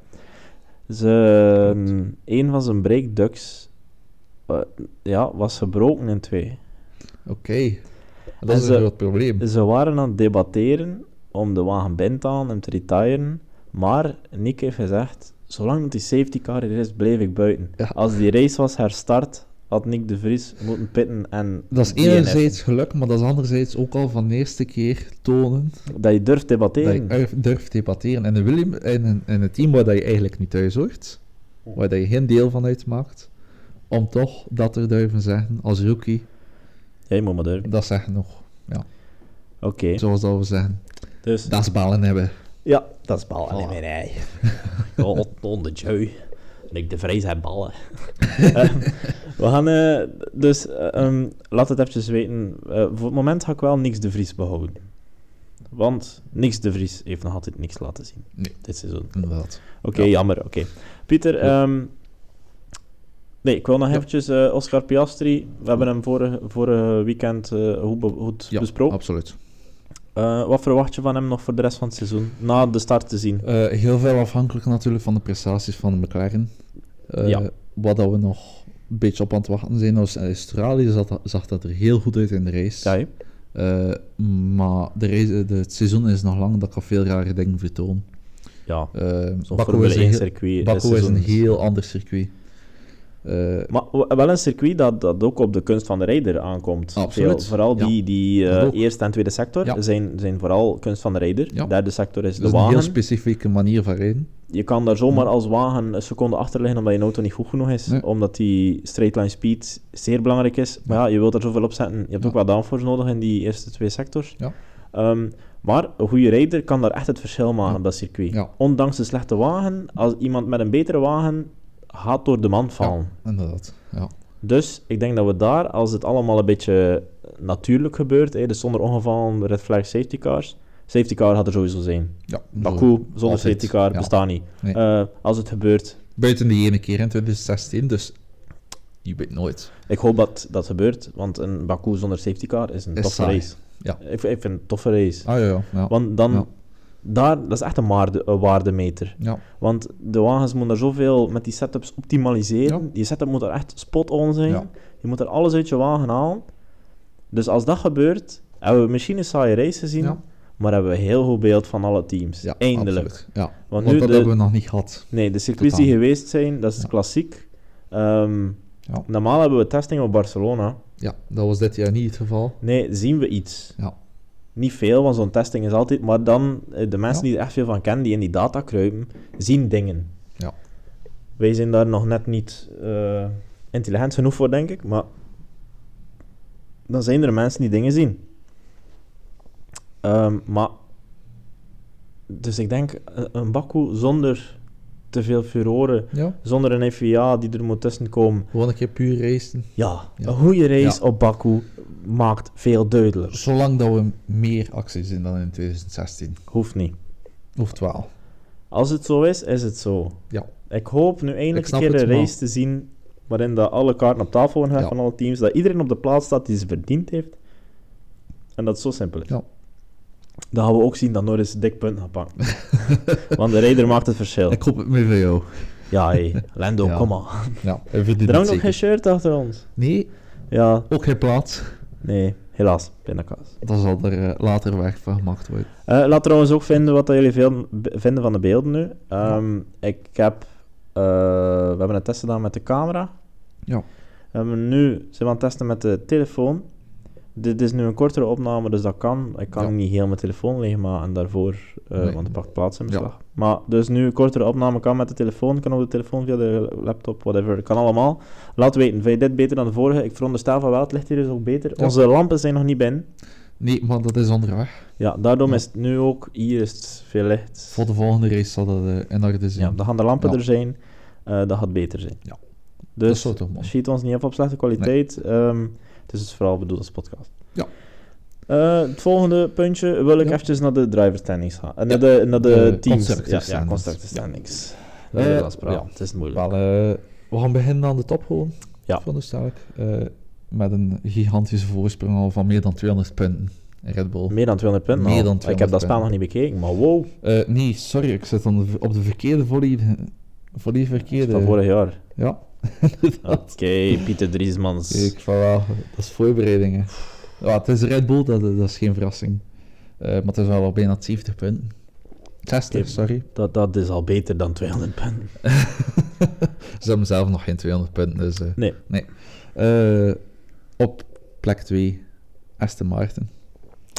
Speaker 1: Zijn, een van zijn breakducks eh, ja, was gebroken in twee.
Speaker 2: Oké. Dat is
Speaker 1: ze-
Speaker 2: een groot probleem.
Speaker 1: Ze waren aan het debatteren om de wagen binnen te halen, hem te retiren. Maar Nick heeft gezegd, zolang dat die safety car er is, bleef ik buiten.
Speaker 2: Ja.
Speaker 1: Als die race was herstart, had Nick de Vries moeten pitten en...
Speaker 2: Dat is
Speaker 1: DNF 'en.
Speaker 2: enerzijds geluk, maar dat is anderzijds ook al van de eerste keer tonen
Speaker 1: Dat je durft
Speaker 2: dat je
Speaker 1: debatteren.
Speaker 2: durf- durft debatteren. En een, William, en een, en een team waar dat je eigenlijk niet thuis hoort,
Speaker 1: Oh.
Speaker 2: waar dat je geen deel van uitmaakt, om toch dat er duiven zeggen als rookie,
Speaker 1: Jij moet maar durven.
Speaker 2: dat zeggen nog.
Speaker 1: Oké,
Speaker 2: Zoals dat we zeggen,
Speaker 1: dus...
Speaker 2: dat is ballen hebben.
Speaker 1: ja, dat is ballen
Speaker 2: Voilà.
Speaker 1: in mijn ei. Oh, onder jou. Nick de Vries heeft ballen. Ehm, we gaan eh, dus... eh, ehm, laat het eventjes weten. Eh, voor het moment ga ik wel niks de Vries behouden. Want niks de Vries heeft nog altijd niks laten zien.
Speaker 2: Nee.
Speaker 1: Dit seizoen.
Speaker 2: Inderdaad.
Speaker 1: Oké,
Speaker 2: Ja.
Speaker 1: jammer. Oké. Pieter,
Speaker 2: Ja.
Speaker 1: ehm, nee, ik wil nog
Speaker 2: Ja.
Speaker 1: eventjes eh, Oscar Piastri. We hebben hem vorige, vorige weekend eh, goed, be- goed
Speaker 2: Ja,
Speaker 1: besproken.
Speaker 2: absoluut.
Speaker 1: Eh, wat verwacht je van hem nog voor de rest van het seizoen? Na de start te zien.
Speaker 2: Eh, heel veel afhankelijk natuurlijk van de prestaties van de McLaren. Eh,
Speaker 1: Ja.
Speaker 2: Wat dat we nog een beetje op aan het wachten zijn. Als Australië zag dat, zag dat er heel goed uit in de race.
Speaker 1: Ja, hè?
Speaker 2: Eh, maar de race- de, het seizoen is nog lang, dat kan veel rare dingen vertonen.
Speaker 1: ja.
Speaker 2: Eh
Speaker 1: Zo'n
Speaker 2: Baku
Speaker 1: Formule
Speaker 2: is, een
Speaker 1: 1
Speaker 2: heel,
Speaker 1: circuit.
Speaker 2: Baku is
Speaker 1: seizoen
Speaker 2: een heel ander circuit. Eh,
Speaker 1: Maar w- wel een circuit dat, dat ook op de kunst van de rijder aankomt.
Speaker 2: Absoluut,
Speaker 1: vooral
Speaker 2: ja.
Speaker 1: die, die eh,
Speaker 2: Dat ook.
Speaker 1: eerste en tweede sector
Speaker 2: Ja.
Speaker 1: zijn, zijn vooral kunst van de rijder.
Speaker 2: Ja.
Speaker 1: Derde sector is
Speaker 2: het
Speaker 1: de
Speaker 2: is een heel
Speaker 1: wagen.
Speaker 2: specifieke manier van rijden.
Speaker 1: Je kan daar zomaar als wagen een seconde achter liggen omdat je auto niet goed genoeg is.
Speaker 2: Nee.
Speaker 1: Omdat die straight line speed zeer belangrijk is. Maar ja, je wilt er zoveel op zetten. Je hebt
Speaker 2: Ja.
Speaker 1: ook wat downforce nodig in die eerste twee sectors.
Speaker 2: Ja.
Speaker 1: Ehm, maar een goede rijder kan daar echt het verschil maken
Speaker 2: Ja.
Speaker 1: op dat circuit.
Speaker 2: Ja.
Speaker 1: Ondanks de slechte wagen, als iemand met een betere wagen gaat door de man vallen.
Speaker 2: Inderdaad. Ja.
Speaker 1: Dus ik denk dat we daar, als het allemaal een beetje natuurlijk gebeurt, hè, dus zonder ongevallen, red flag, safety cars. Safety car had er sowieso zijn.
Speaker 2: Ja,
Speaker 1: Baku, zonder
Speaker 2: altijd,
Speaker 1: safety car,
Speaker 2: ja.
Speaker 1: bestaat niet.
Speaker 2: Nee.
Speaker 1: Eh, als het gebeurt,
Speaker 2: Buiten die ene keer in 2016, dus je weet nooit.
Speaker 1: Ik hoop dat dat gebeurt, want een Baku zonder safety car is een
Speaker 2: Is
Speaker 1: toffe
Speaker 2: saai.
Speaker 1: race.
Speaker 2: Ja.
Speaker 1: Ik, vind- ik vind het een toffe race.
Speaker 2: Ah ja, ja. ja.
Speaker 1: Want dan,
Speaker 2: Ja.
Speaker 1: daar, dat is echt een, waarde, een waardemeter.
Speaker 2: ja.
Speaker 1: Want de wagens moeten daar zoveel met die setups optimaliseren.
Speaker 2: Ja.
Speaker 1: Die setup moet er echt spot-on zijn.
Speaker 2: Ja.
Speaker 1: Je moet er alles uit je wagen halen. Dus als dat gebeurt, hebben we misschien een saaie race gezien,
Speaker 2: Ja.
Speaker 1: maar hebben we een heel goed beeld van alle teams.
Speaker 2: Ja,
Speaker 1: Eindelijk.
Speaker 2: absoluut. Ja,
Speaker 1: Want
Speaker 2: want,
Speaker 1: nu
Speaker 2: dat
Speaker 1: de-
Speaker 2: hebben we nog niet gehad.
Speaker 1: Nee, de circuits die
Speaker 2: Totaal.
Speaker 1: geweest zijn, dat is klassiek. Ehm,
Speaker 2: Ja.
Speaker 1: Normaal hebben we testing op Barcelona.
Speaker 2: Ja, dat was dit jaar niet het geval.
Speaker 1: Nee, zien we iets.
Speaker 2: Ja.
Speaker 1: Niet veel, want zo'n testing is altijd... Maar dan, eh, de mensen
Speaker 2: Ja.
Speaker 1: die er echt veel van kennen, die in die data kruipen, zien dingen.
Speaker 2: Ja.
Speaker 1: Wij zijn daar nog net niet eh, intelligent genoeg voor, denk ik. Maar dan zijn er mensen die dingen zien. Ehm, maar Dus ik denk een- een Baku zonder te veel furoren,
Speaker 2: Ja,
Speaker 1: zonder een FIA die er moet tussenkomen.
Speaker 2: gewoon een keer puur racen.
Speaker 1: Ja,
Speaker 2: Ja.
Speaker 1: een goede race
Speaker 2: Ja.
Speaker 1: op Baku maakt veel duidelijker.
Speaker 2: Zolang dat we meer acties zien dan in 2016.
Speaker 1: Hoeft niet.
Speaker 2: Of 12.
Speaker 1: Als het zo is, is het zo.
Speaker 2: Ja.
Speaker 1: Ik hoop nu
Speaker 2: Ik
Speaker 1: eindelijk een
Speaker 2: snap
Speaker 1: keer
Speaker 2: het,
Speaker 1: een
Speaker 2: maar-
Speaker 1: race te zien waarin dat alle kaarten op tafel gaan
Speaker 2: Ja.
Speaker 1: van alle teams. Dat iedereen op de plaats staat die ze verdiend heeft. En dat het zo simpel is.
Speaker 2: Ja.
Speaker 1: Dan gaan we ook zien dat Norris dik punt gaat pakken. Want de rijder maakt het verschil.
Speaker 2: Ik hoop het mee voor jou.
Speaker 1: Ja, hey. Lando,
Speaker 2: Ja.
Speaker 1: kom maar.
Speaker 2: Ja, hij verdient
Speaker 1: Er
Speaker 2: het
Speaker 1: hangt nog geen
Speaker 2: zeker.
Speaker 1: shirt achter ons.
Speaker 2: Nee,
Speaker 1: Ja,
Speaker 2: ook geen plaats.
Speaker 1: nee, helaas. Pindakaas.
Speaker 2: Dan zal er eh, later weg van gemaakt worden.
Speaker 1: Eh, laat trouwens ook vinden wat dat jullie veel b- vinden van de beelden nu. Ehm, Ik heb... eh, we hebben een test gedaan met de camera.
Speaker 2: Ja.
Speaker 1: We hebben nu zijn we aan het testen met de telefoon. Dit is nu een kortere opname, dus dat kan. Ik kan
Speaker 2: Ja.
Speaker 1: niet heel mijn telefoon leegmaken en daarvoor, eh,
Speaker 2: Nee.
Speaker 1: want het pakt plaats in
Speaker 2: Ja.
Speaker 1: beslag. Maar dus nu een kortere opname kan met de telefoon, kan op de telefoon via de laptop, whatever, kan allemaal. Laat weten, vind je dit beter dan de vorige? Ik veronderstel van wel, het ligt hier dus ook beter.
Speaker 2: Ja.
Speaker 1: Onze lampen zijn nog niet binnen.
Speaker 2: Nee, maar dat is onderweg.
Speaker 1: Ja, daarom
Speaker 2: Ja.
Speaker 1: is het nu ook, hier is het veel licht.
Speaker 2: Voor de volgende race zal dat eh, in orde zijn.
Speaker 1: Ja, dan gaan de lampen
Speaker 2: Ja.
Speaker 1: er zijn. eh, dat gaat beter zijn.
Speaker 2: Ja. dat
Speaker 1: Dus
Speaker 2: zou toch man.
Speaker 1: schiet ons niet af op slechte kwaliteit. Ehm, het is dus vooral bedoeld als podcast.
Speaker 2: Ja.
Speaker 1: Eh, het volgende puntje wil ik
Speaker 2: Ja.
Speaker 1: eventjes naar de driver standings gaan. En
Speaker 2: Ja.
Speaker 1: naar de, naar de,
Speaker 2: De
Speaker 1: teams.
Speaker 2: constructor
Speaker 1: ja, ja,
Speaker 2: standings.
Speaker 1: constructor
Speaker 2: Ja.
Speaker 1: standings.
Speaker 2: Eh,
Speaker 1: Nederlands praat.
Speaker 2: ja.
Speaker 1: Het is moeilijk.
Speaker 2: Wel, eh, we gaan beginnen aan de top gewoon.
Speaker 1: Ja.
Speaker 2: Veronderstel ik. Eh, met een gigantische voorsprong al van meer dan 200 punten. in Red Bull.
Speaker 1: Meer dan 200 punten.
Speaker 2: Meer
Speaker 1: al.
Speaker 2: dan
Speaker 1: ik heb
Speaker 2: 200
Speaker 1: dat spel nog
Speaker 2: punten.
Speaker 1: niet bekeken, maar wow.
Speaker 2: Eh, nee, sorry, ik zit aan de- op de verkeerde volley. Volley
Speaker 1: Dat is van
Speaker 2: verkeerde.
Speaker 1: vorig jaar.
Speaker 2: Ja,
Speaker 1: Oké, Pieter Driesmans.
Speaker 2: ik van wel. Dat is voorbereidingen. Ja, het is Red Bull, dat, dat is geen verrassing. Eh, maar het is wel al bijna 70 punten. 60,
Speaker 1: Oké.
Speaker 2: sorry.
Speaker 1: Dat, dat is al beter dan 200 punten.
Speaker 2: Ze hebben zelf nog geen 200 punten, dus... eh,
Speaker 1: Nee.
Speaker 2: nee. Eh, op plek 2, Aston Martin.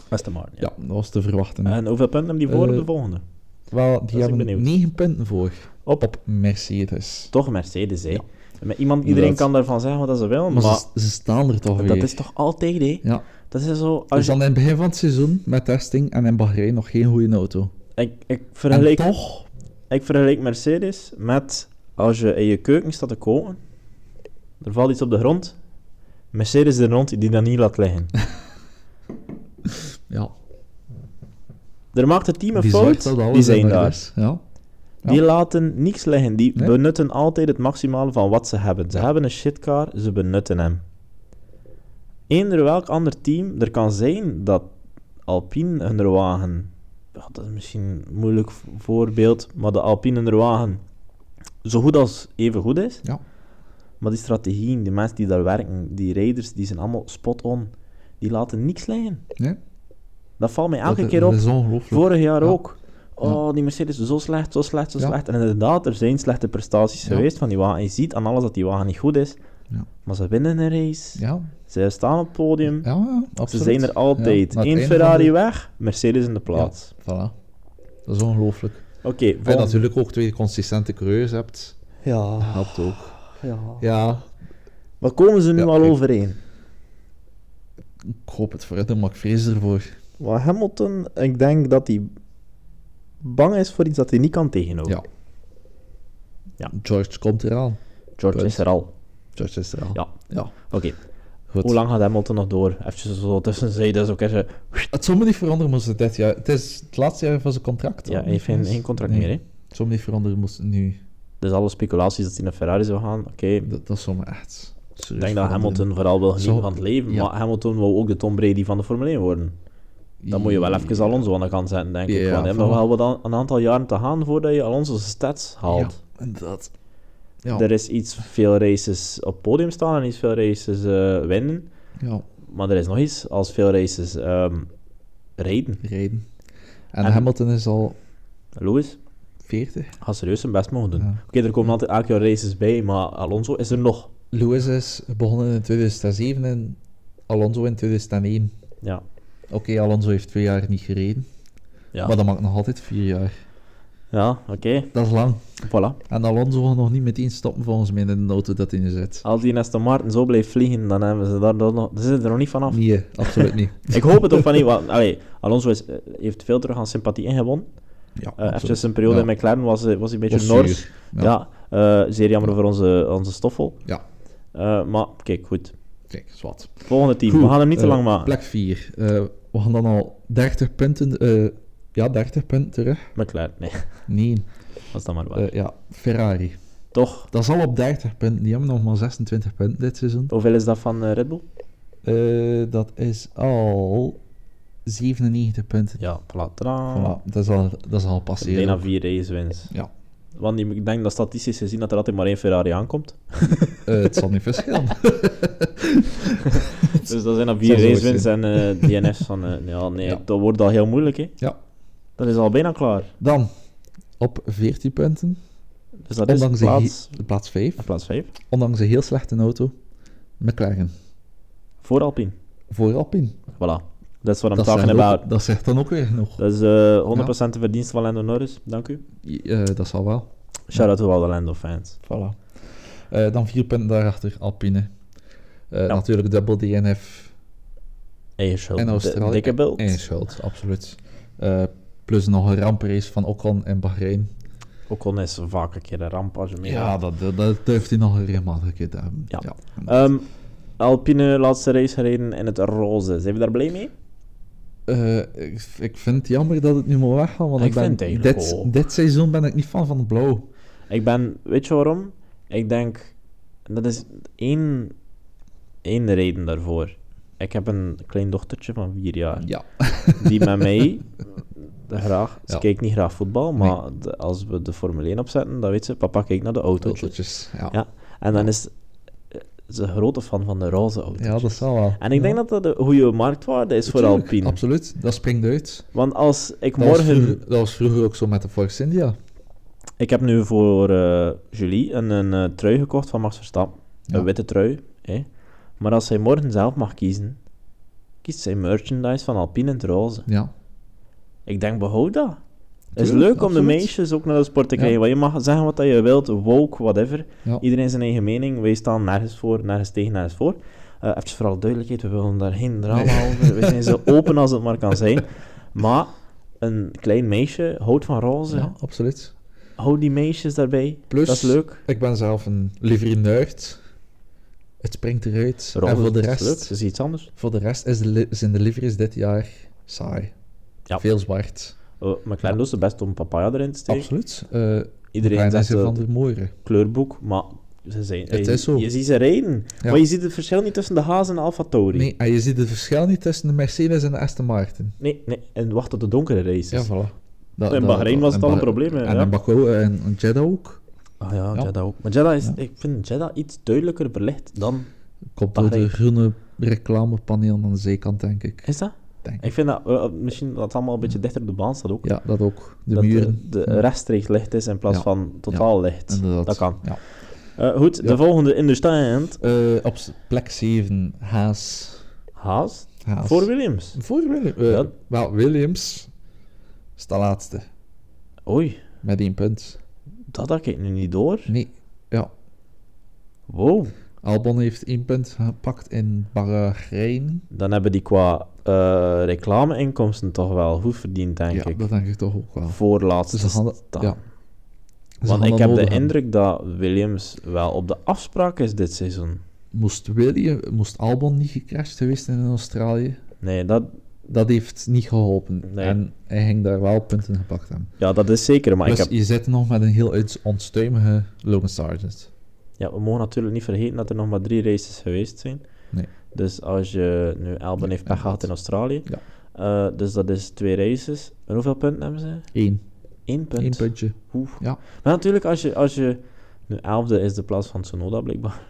Speaker 1: Aston Martin. Ja.
Speaker 2: Ja, dat was te verwachten.
Speaker 1: En hoeveel punten hebben die voor op
Speaker 2: Eh,
Speaker 1: de volgende?
Speaker 2: Wel,
Speaker 1: ik
Speaker 2: die hebben
Speaker 1: benieuwd.
Speaker 2: 9 punten voor.
Speaker 1: Op.
Speaker 2: Op Mercedes.
Speaker 1: Toch Mercedes, hè?
Speaker 2: Ja.
Speaker 1: Met iemand, iedereen
Speaker 2: Inderdaad.
Speaker 1: kan daarvan zeggen wat dat ze willen,
Speaker 2: Maar,
Speaker 1: maar,
Speaker 2: ze, ze staan er toch
Speaker 1: dat
Speaker 2: weer.
Speaker 1: is toch altijd, hè?
Speaker 2: Ja.
Speaker 1: Dat is zo... Als
Speaker 2: Dus
Speaker 1: je,
Speaker 2: dan in het begin van het seizoen met testing en in Bahrein nog geen goede auto.
Speaker 1: ik, ik,
Speaker 2: En
Speaker 1: vergelijk,
Speaker 2: toch?
Speaker 1: ik vergelijk Mercedes met als je in je keuken staat te koken, er valt iets op de grond, Mercedes de grond die dat niet laat liggen.
Speaker 2: Ja.
Speaker 1: er maakt het team een
Speaker 2: Die zorgt dat
Speaker 1: fout,
Speaker 2: alles
Speaker 1: die zijn
Speaker 2: in orde
Speaker 1: daar.
Speaker 2: is. Ja. Ja.
Speaker 1: Die laten niks liggen, die
Speaker 2: Nee.
Speaker 1: benutten altijd het maximale van wat ze hebben. Ze
Speaker 2: Ja.
Speaker 1: hebben een shitcar, ze benutten hem. Eender welk ander team, er kan zijn dat Alpine hun wagen, ja, dat is misschien een moeilijk v- voorbeeld, maar de Alpine hun wagen zo goed als even goed is.
Speaker 2: Ja.
Speaker 1: Maar die strategieën, die mensen die daar werken, die rijders, die zijn allemaal spot on. Die laten niks liggen.
Speaker 2: Nee,
Speaker 1: Dat valt mij elke
Speaker 2: dat,
Speaker 1: keer
Speaker 2: dat
Speaker 1: op.
Speaker 2: is ongelooflijk.
Speaker 1: Vorig jaar
Speaker 2: Ja.
Speaker 1: ook. Oh, die Mercedes is zo slecht, zo slecht, zo
Speaker 2: Ja.
Speaker 1: slecht. En inderdaad, er zijn slechte prestaties
Speaker 2: Ja.
Speaker 1: geweest van die wagen. Je ziet aan alles dat die wagen niet goed is.
Speaker 2: Ja.
Speaker 1: Maar ze winnen een race.
Speaker 2: Ja,
Speaker 1: Ze staan op het podium.
Speaker 2: ja, ja,
Speaker 1: Ze
Speaker 2: absoluut.
Speaker 1: zijn er altijd.
Speaker 2: Ja, na het
Speaker 1: Eén
Speaker 2: einde van
Speaker 1: Ferrari
Speaker 2: de-
Speaker 1: weg, Mercedes in de plaats.
Speaker 2: Voilà. Dat is ongelooflijk.
Speaker 1: Oké,
Speaker 2: En
Speaker 1: volgende.
Speaker 2: natuurlijk ook twee consistente coureurs hebt,
Speaker 1: ja,
Speaker 2: helpt ook.
Speaker 1: ja.
Speaker 2: Ja,
Speaker 1: Wat komen ze nu
Speaker 2: Ja,
Speaker 1: al
Speaker 2: ik-
Speaker 1: overeen?
Speaker 2: ik hoop het voor het, maar ik vrees ervoor.
Speaker 1: Maar Hamilton, ik denk dat hij bang is voor iets dat hij niet kan tegenhouden.
Speaker 2: Ja.
Speaker 1: Ja.
Speaker 2: George komt eraan.
Speaker 1: George
Speaker 2: punt.
Speaker 1: is er al.
Speaker 2: George is eraan.
Speaker 1: Ja.
Speaker 2: ja.
Speaker 1: Oké,
Speaker 2: Goed.
Speaker 1: hoe lang gaat Hamilton nog door? Even zo tussen zij, dat is ook even...
Speaker 2: Het zal me niet veranderen moesten dit jaar. Het is het laatste jaar van zijn contract.
Speaker 1: Ja,
Speaker 2: al,
Speaker 1: hij heeft geen,
Speaker 2: dus-
Speaker 1: geen contract
Speaker 2: nee,
Speaker 1: meer, hè?
Speaker 2: Het zal me niet veranderen moesten nu.
Speaker 1: Dus alle speculaties dat hij naar Ferrari zou gaan, oké. Ik
Speaker 2: Dat, dat zal me echt... serieus
Speaker 1: denk dat
Speaker 2: veranderen.
Speaker 1: Hamilton vooral wil genieten
Speaker 2: Zo-
Speaker 1: van het leven,
Speaker 2: ja.
Speaker 1: maar Hamilton wil ook de Tom Brady van de Formule 1 worden. Dan moet je wel even Alonso aan de kant zetten, denk ik.
Speaker 2: Ja,
Speaker 1: Want hij heeft nog
Speaker 2: voilà.
Speaker 1: wel wat aan- een aantal jaren te gaan voordat je Alonso zijn stats haalt.
Speaker 2: Ja, inderdaad. Ja.
Speaker 1: Er is iets veel races op het podium staan en iets veel races eh, winnen.
Speaker 2: ja,
Speaker 1: Maar er is nog iets als veel races ehm rijden.
Speaker 2: reden. En,
Speaker 1: En-
Speaker 2: Hamilton is al
Speaker 1: Lewis
Speaker 2: 40.
Speaker 1: gaat serieus zijn best mogen doen.
Speaker 2: Ja.
Speaker 1: Oké, er komen altijd elk jaar races bij, maar Alonso is er nog.
Speaker 2: Lewis is begonnen in 2007 en Alonso in 2001.
Speaker 1: Ja.
Speaker 2: Oké, Alonso heeft twee jaar niet gereden,
Speaker 1: Ja,
Speaker 2: maar dat maakt nog altijd vier jaar.
Speaker 1: ja oké.
Speaker 2: Dat is lang.
Speaker 1: Voilà.
Speaker 2: En Alonso gaat nog niet meteen stoppen volgens mij in de auto dat hij nu zit.
Speaker 1: Als die Aston Martin zo blijft vliegen, dan hebben ze daar dan nog... Ze zitten er nog niet vanaf.
Speaker 2: Nee, absoluut niet.
Speaker 1: Ik hoop het ook van niet, want allee, Alonso is, eh, heeft veel terug aan sympathie ingewonnen.
Speaker 2: Ja,
Speaker 1: Eh
Speaker 2: absoluut.
Speaker 1: eventjes een periode
Speaker 2: Ja.
Speaker 1: in McLaren was, hij- was hij een beetje
Speaker 2: Was
Speaker 1: nors.
Speaker 2: zuur.
Speaker 1: Ja, eh, zeer jammer voor onze, onze stoffel.
Speaker 2: Ja.
Speaker 1: Eh, maar kijk, goed.
Speaker 2: Kijk, zwart.
Speaker 1: Volgende team.
Speaker 2: Goed,
Speaker 1: We gaan hem niet te
Speaker 2: eh,
Speaker 1: lang maken.
Speaker 2: Plek 4. we gaan dan al 30 punten... eh, ja, 30 punten terug.
Speaker 1: McLaren, nee,
Speaker 2: Nee.
Speaker 1: was dat maar waar.
Speaker 2: eh, ja, Ferrari.
Speaker 1: Toch?
Speaker 2: Dat is al op 30 punten. Die hebben nog maar 26 punten dit seizoen.
Speaker 1: Hoeveel is dat van eh, Red Bull?
Speaker 2: Eh, dat is al 97 punten.
Speaker 1: Ja, voilà. tadaa.
Speaker 2: Voilà, dat is al, dat is al passeren.
Speaker 1: Bijna vier race wins.
Speaker 2: Ja.
Speaker 1: Want ik denk dat statistisch gezien dat er altijd maar één Ferrari aankomt.
Speaker 2: Eh, het zal niet verschillen.
Speaker 1: Dus dat zijn dan
Speaker 2: Zou
Speaker 1: vier
Speaker 2: zo
Speaker 1: race wins en
Speaker 2: zijn.
Speaker 1: eh, DNF's van... eh, ja, nee,
Speaker 2: Ja.
Speaker 1: dat wordt al heel moeilijk, hè.
Speaker 2: Ja.
Speaker 1: Dat is al bijna klaar.
Speaker 2: Dan, op 14 punten,
Speaker 1: Dus dat
Speaker 2: Ondanks
Speaker 1: is
Speaker 2: een
Speaker 1: plaats,
Speaker 2: plaats 5,
Speaker 1: plaats vijf.
Speaker 2: ondanks een heel slechte auto, McLaren.
Speaker 1: Voor Alpine.
Speaker 2: Voor Alpine.
Speaker 1: Voilà. Dat is wat I'm
Speaker 2: Dat
Speaker 1: talking
Speaker 2: zegt,
Speaker 1: about.
Speaker 2: ook, dat zegt dan ook weer genoeg.
Speaker 1: Dat is eh 100% de verdienst van Lando Norris. Dank u.
Speaker 2: Eh, dat zal wel.
Speaker 1: Shout-out to all the Lando fans.
Speaker 2: Voilà. Eh, dan vier punten daarachter, Alpine. Eh,
Speaker 1: Ja.
Speaker 2: Natuurlijk dubbel DNF
Speaker 1: Eigen schuld.
Speaker 2: en
Speaker 1: Di-
Speaker 2: Australië.
Speaker 1: Dikke bult.
Speaker 2: En schuld, absoluut. Eh, plus nog een ramprace van Ocon en Bahrein.
Speaker 1: Ook al is vaak een keer een ramp als je mee
Speaker 2: Ja, dat, dat, dat durft hij nog een regelmatig keer te hebben.
Speaker 1: Ja.
Speaker 2: Ja.
Speaker 1: Ehm, Alpine laatste race gereden in het roze. Zijn we daar blij mee?
Speaker 2: Eh, ik, ik vind het jammer dat het nu moet weggaan, want
Speaker 1: Ik
Speaker 2: ik, ben,
Speaker 1: vind het eigenlijk
Speaker 2: dit,
Speaker 1: ook.
Speaker 2: dit seizoen ben ik niet fan van het blauw.
Speaker 1: Ik ben, weet je waarom? Ik denk, dat is één, één reden daarvoor. Ik heb een klein dochtertje van vier jaar.
Speaker 2: Ja.
Speaker 1: Die met mij graag, ze
Speaker 2: Ja.
Speaker 1: kijkt niet graag voetbal, maar de- als we de Formule 1 opzetten, dan weet ze, papa kijkt naar de autootjes.
Speaker 2: Autootjes. Ja.
Speaker 1: Ja. En dan is ze een grote fan van de roze auto's.
Speaker 2: ja, dat zal wel.
Speaker 1: En ik denk
Speaker 2: Ja,
Speaker 1: dat dat een goede marktwaarde is voor
Speaker 2: tuurlijk,
Speaker 1: Alpine.
Speaker 2: Absoluut, dat springt uit.
Speaker 1: Want als ik
Speaker 2: Dat, was
Speaker 1: morgen...
Speaker 2: vroeger, dat was vroeger ook zo met de Force India.
Speaker 1: Ik heb nu voor eh, Julie een, een eh, trui gekocht van Max Verstappen.
Speaker 2: Ja.
Speaker 1: Een witte trui. Hè? Maar als zij morgen zelf mag kiezen, kiest zij merchandise van Alpine en het roze.
Speaker 2: Ja.
Speaker 1: Ik denk, behoud dat. Het is
Speaker 2: Tuurlijk,
Speaker 1: leuk om de
Speaker 2: absoluut.
Speaker 1: meisjes ook naar de sport te
Speaker 2: Ja.
Speaker 1: krijgen. Want je mag zeggen wat dat je wilt, woke, whatever.
Speaker 2: Ja.
Speaker 1: Iedereen zijn eigen mening. Wij staan nergens voor, nergens tegen, nergens voor. Eh even vooral duidelijkheid, we willen daar geen drama over. We zijn zo open als het maar kan zijn. Maar een klein meisje houdt van roze.
Speaker 2: ja, absoluut.
Speaker 1: Hou die meisjes daarbij.
Speaker 2: Plus-
Speaker 1: dat is leuk.
Speaker 2: Ik ben zelf een livery nerd. Het springt eruit. en voor de
Speaker 1: dat is leuk.
Speaker 2: rest,
Speaker 1: Dat is iets anders.
Speaker 2: voor de rest is de li- zijn de liveries dit jaar saai.
Speaker 1: Ja.
Speaker 2: Veel zwart.
Speaker 1: Eh, McLaren doet zijn best om papaya erin te steken.
Speaker 2: Absoluut. Eh
Speaker 1: Iedereen
Speaker 2: en
Speaker 1: zegt
Speaker 2: is er
Speaker 1: eh,
Speaker 2: van de mooiere.
Speaker 1: kleurboek, maar ze zijn,
Speaker 2: Het
Speaker 1: je,
Speaker 2: is zo.
Speaker 1: je ziet ze rijden.
Speaker 2: Ja.
Speaker 1: Maar je ziet het verschil niet tussen de Haas en de Alfa Tauri.
Speaker 2: Nee, en je ziet het verschil niet tussen de Mercedes en de Aston Martin.
Speaker 1: nee, nee. En wacht op de donkere races.
Speaker 2: voilà.
Speaker 1: In Bahrein was het al een probleem, hè,
Speaker 2: Dus En
Speaker 1: ja.
Speaker 2: in Baku en in Jeddah ook.
Speaker 1: Ah ja,
Speaker 2: Ja.
Speaker 1: Jeddah ook. Maar Jeddah is,
Speaker 2: Ja.
Speaker 1: ik vind Jeddah iets duidelijker belicht dan...
Speaker 2: Komt door
Speaker 1: Bahrein.
Speaker 2: de groene reclamepaneel aan de zijkant, denk ik.
Speaker 1: Is dat?
Speaker 2: Denk.
Speaker 1: Ik vind dat eh, misschien dat het allemaal een beetje dichter op de baan staat ook.
Speaker 2: Ja, dat ook. De
Speaker 1: dat
Speaker 2: muren.
Speaker 1: de, de rechtstreeks licht is in plaats
Speaker 2: Ja.
Speaker 1: van totaal licht.
Speaker 2: Inderdaad.
Speaker 1: Dat kan.
Speaker 2: Ja.
Speaker 1: Eh, goed, de
Speaker 2: Ja.
Speaker 1: volgende in de stand.
Speaker 2: Eh, op s- plek 7, Haas.
Speaker 1: Haas,
Speaker 2: Haas.
Speaker 1: voor Williams.
Speaker 2: Voor Williams.
Speaker 1: Ja.
Speaker 2: Wel, Williams is de laatste.
Speaker 1: Oei,
Speaker 2: Met één punt.
Speaker 1: dat had ik nu niet door.
Speaker 2: Nee. Ja.
Speaker 1: Wow.
Speaker 2: Albon heeft één punt gepakt in Bahrein.
Speaker 1: Dan hebben die qua eh reclameinkomsten toch wel goed verdiend, denk
Speaker 2: ja,
Speaker 1: ik.
Speaker 2: dat denk ik toch ook wel.
Speaker 1: Voorlaatste
Speaker 2: Dus ze gaan dat-
Speaker 1: staan.
Speaker 2: ja. Ze
Speaker 1: Want ik
Speaker 2: gaan dat
Speaker 1: heb de
Speaker 2: nodig hebben.
Speaker 1: indruk dat Williams wel op de afspraak is dit seizoen.
Speaker 2: Moest, William, moest Albon niet gecrashed geweest zijn in Australië?
Speaker 1: Nee, dat,
Speaker 2: Dat heeft niet geholpen.
Speaker 1: Nee.
Speaker 2: En hij ging daar wel punten gepakt hebben.
Speaker 1: ja, dat is zeker. Maar
Speaker 2: dus
Speaker 1: ik heb,
Speaker 2: je zit nog met een heel uits- onstuimige Logan Sargent.
Speaker 1: ja, we mogen natuurlijk niet vergeten dat er nog maar drie races geweest zijn.
Speaker 2: Nee.
Speaker 1: Dus als je nu Albon heeft pech gehad in Australië.
Speaker 2: Ja.
Speaker 1: eh, dus dat is twee races. En hoeveel punten hebben ze?
Speaker 2: Eén.
Speaker 1: Eén punt.
Speaker 2: Eén puntje.
Speaker 1: Oeh.
Speaker 2: Ja.
Speaker 1: Maar natuurlijk, als je, als je... Nu, elfde is de plaats van Tsunoda, blijkbaar.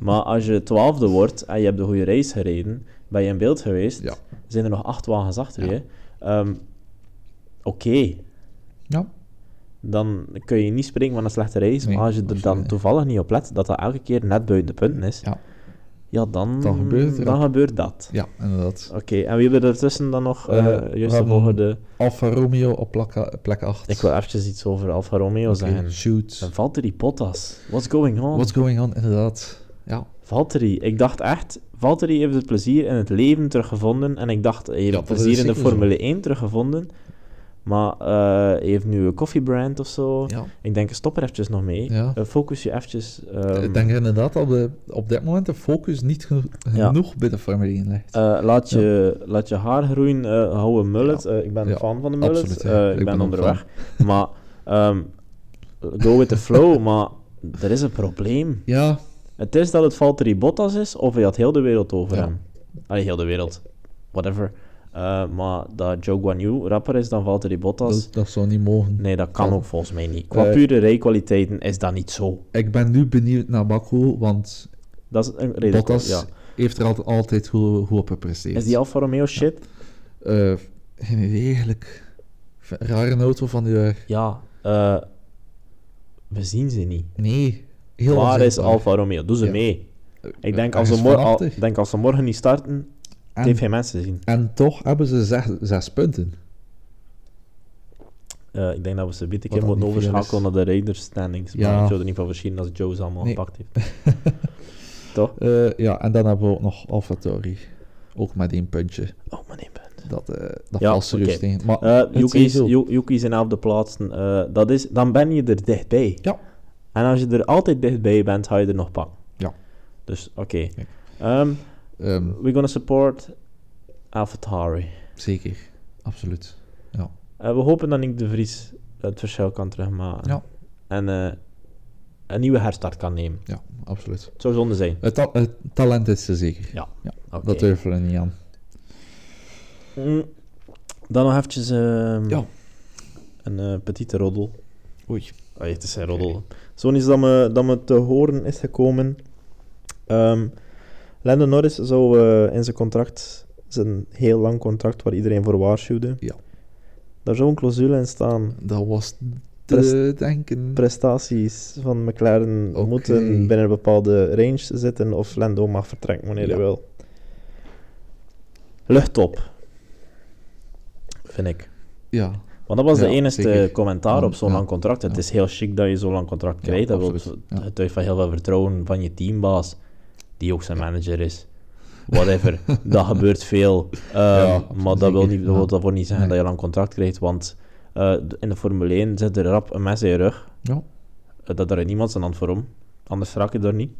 Speaker 1: maar als je twaalfde wordt en je hebt de goede race gereden, ben je in beeld geweest,
Speaker 2: Ja.
Speaker 1: zijn er nog acht wagens achter
Speaker 2: Ja.
Speaker 1: je. Ehm, Oké,
Speaker 2: Ja.
Speaker 1: dan kun je niet springen van een slechte race,
Speaker 2: Nee,
Speaker 1: maar als je er
Speaker 2: absoluut
Speaker 1: dan
Speaker 2: niet.
Speaker 1: toevallig niet op let, dat dat elke keer net buiten de punten is,
Speaker 2: Ja.
Speaker 1: ja, dan,
Speaker 2: Dan gebeurt er
Speaker 1: dan
Speaker 2: ook.
Speaker 1: gebeurt dat.
Speaker 2: Ja, inderdaad.
Speaker 1: Oké, en wie hebben er tussen dan nog?
Speaker 2: Eh,
Speaker 1: eh
Speaker 2: we
Speaker 1: juist de
Speaker 2: hebben-
Speaker 1: volgende.
Speaker 2: Alfa Romeo op plek, plek 8.
Speaker 1: Ik wil eventjes iets over Alfa Romeo zeggen.
Speaker 2: Shoot.
Speaker 1: En Valtteri Bottas, what's going on?
Speaker 2: What's going on, inderdaad. Ja.
Speaker 1: Valtteri, ik dacht echt, Valtteri heeft het plezier in het leven teruggevonden. En ik dacht, hij heeft
Speaker 2: Ja,
Speaker 1: het
Speaker 2: dat is
Speaker 1: plezier in de
Speaker 2: zeker zo.
Speaker 1: Formule 1 teruggevonden. Maar eh, hij heeft nu een koffiebrand of zo.
Speaker 2: Ja.
Speaker 1: Ik denk, stop er eventjes nog mee.
Speaker 2: Ja.
Speaker 1: Eh, focus je eventjes. ehm,
Speaker 2: ik denk inderdaad dat we op dit moment de focus niet geno-
Speaker 1: Ja.
Speaker 2: genoeg binnen Formule 1 ligt.
Speaker 1: eh, laat, je, laat je haar groeien, eh hou een mullet. Eh, ik ben
Speaker 2: Ja,
Speaker 1: een fan van de mullet.
Speaker 2: absoluut, ja.
Speaker 1: Eh,
Speaker 2: Ik
Speaker 1: ik, ben
Speaker 2: ben ook
Speaker 1: onderweg. maar ehm, go with the flow, maar er is een probleem.
Speaker 2: Ja,
Speaker 1: Het is dat het Valtteri Bottas is, of hij had heel de wereld over
Speaker 2: Ja.
Speaker 1: hem. Allee, heel de wereld. Whatever. Eh, maar dat Joe Guan Yu rapper is dan Valtteri Bottas,
Speaker 2: dat, dat zou niet mogen.
Speaker 1: nee, dat kan
Speaker 2: Ja.
Speaker 1: ook volgens mij niet. Qua
Speaker 2: Eh,
Speaker 1: pure rijkwaliteiten is dat niet zo.
Speaker 2: Ik ben nu benieuwd naar Baku, want
Speaker 1: Dat is een reden.
Speaker 2: Bottas
Speaker 1: ja.
Speaker 2: heeft er altijd, altijd goed, goed op gepresteerd.
Speaker 1: Is die Alfa Romeo shit?
Speaker 2: Eh, geen idee, eigenlijk. Ik vind het een Rare auto van die jaar.
Speaker 1: Ja. eh, we zien ze niet.
Speaker 2: Nee, heel
Speaker 1: Waar is
Speaker 2: onzichtbaar.
Speaker 1: Alfa Romeo? Doe ze
Speaker 2: Ja.
Speaker 1: mee. Ik denk
Speaker 2: eh,
Speaker 1: als, ze
Speaker 2: ergens
Speaker 1: mor- al-
Speaker 2: vanachtig.
Speaker 1: denk als ze morgen niet starten, het heeft
Speaker 2: En,
Speaker 1: geen mensen zien.
Speaker 2: en toch hebben ze zes, zes punten.
Speaker 1: Eh, ik denk dat we ze een
Speaker 2: Wat
Speaker 1: keer
Speaker 2: al
Speaker 1: moeten
Speaker 2: niet veel
Speaker 1: overschakelen naar de Raiders standings. Maar
Speaker 2: Ja.
Speaker 1: het zou er niet van verschillen als Joe ze allemaal
Speaker 2: Nee.
Speaker 1: gepakt heeft. Toch?
Speaker 2: Eh, ja, en dan hebben we ook nog AlphaTauri. Ook met één puntje.
Speaker 1: Oh, maar nee, punt.
Speaker 2: Dat, eh dat
Speaker 1: Ja,
Speaker 2: valt serieus
Speaker 1: oké.
Speaker 2: tegen. Maar
Speaker 1: Eh,
Speaker 2: Oh, het
Speaker 1: Yuki,
Speaker 2: zijn
Speaker 1: is,
Speaker 2: zo.
Speaker 1: Yu- Yuki is in elfde plaats. Eh, dat is, dan ben je er dichtbij.
Speaker 2: Ja.
Speaker 1: En als je er altijd dichtbij bent, ga je er nog pakken.
Speaker 2: Ja.
Speaker 1: Dus, oké.
Speaker 2: Kijk.
Speaker 1: Ehm,
Speaker 2: Ehm,
Speaker 1: we're gonna support AlphaTauri.
Speaker 2: zeker, absoluut. Ja.
Speaker 1: Eh, we hopen dat Nick de Vries het verschil kan terugmaken.
Speaker 2: Ja.
Speaker 1: En eh, een nieuwe herstart kan nemen.
Speaker 2: ja, absoluut.
Speaker 1: Het zou zonde zijn.
Speaker 2: Het, ta- het talent is er zeker.
Speaker 1: Ja, Oké.
Speaker 2: Dat eh, twijfelen we niet aan.
Speaker 1: Mm. Dan nog eventjes ehm,
Speaker 2: Ja.
Speaker 1: een eh, petite roddel.
Speaker 2: Oei.
Speaker 1: Allee, het is een roddel. Zo'n is dat me, dat me te horen is gekomen. Ehm Lando Norris zou eh, in zijn contract, zijn heel lang contract waar iedereen voor waarschuwde,
Speaker 2: Ja. Hm.
Speaker 1: daar zou een clausule in staan
Speaker 2: Dat was te
Speaker 1: Pres-
Speaker 2: denken.
Speaker 1: prestaties van McLaren
Speaker 2: Oké.
Speaker 1: moeten binnen een bepaalde range zitten of Lando mag vertrekken wanneer
Speaker 2: Ja.
Speaker 1: hij wil. Lucht op, vind ik.
Speaker 2: Ja,
Speaker 1: Want dat was
Speaker 2: Ja,
Speaker 1: de enige
Speaker 2: zeker.
Speaker 1: commentaar op zo'n
Speaker 2: Ja,
Speaker 1: lang contract. Het
Speaker 2: ja.
Speaker 1: is heel chic dat je zo'n lang contract
Speaker 2: Ja,
Speaker 1: krijgt. dat wil
Speaker 2: absoluut, ja.
Speaker 1: het heeft van heel veel vertrouwen van je teambaas, die ook zijn manager is. Whatever, dat gebeurt veel. Ehm,
Speaker 2: Ja,
Speaker 1: maar dat
Speaker 2: zeker,
Speaker 1: wil, niet, dat
Speaker 2: ja.
Speaker 1: wil daarvoor niet zeggen
Speaker 2: Nee.
Speaker 1: dat je lang contract krijgt, want eh, d- in de Formule 1 zit er rap een mes in je rug.
Speaker 2: Ja.
Speaker 1: Eh, dat er niemand zijn hand voor om. Anders raak je er niet.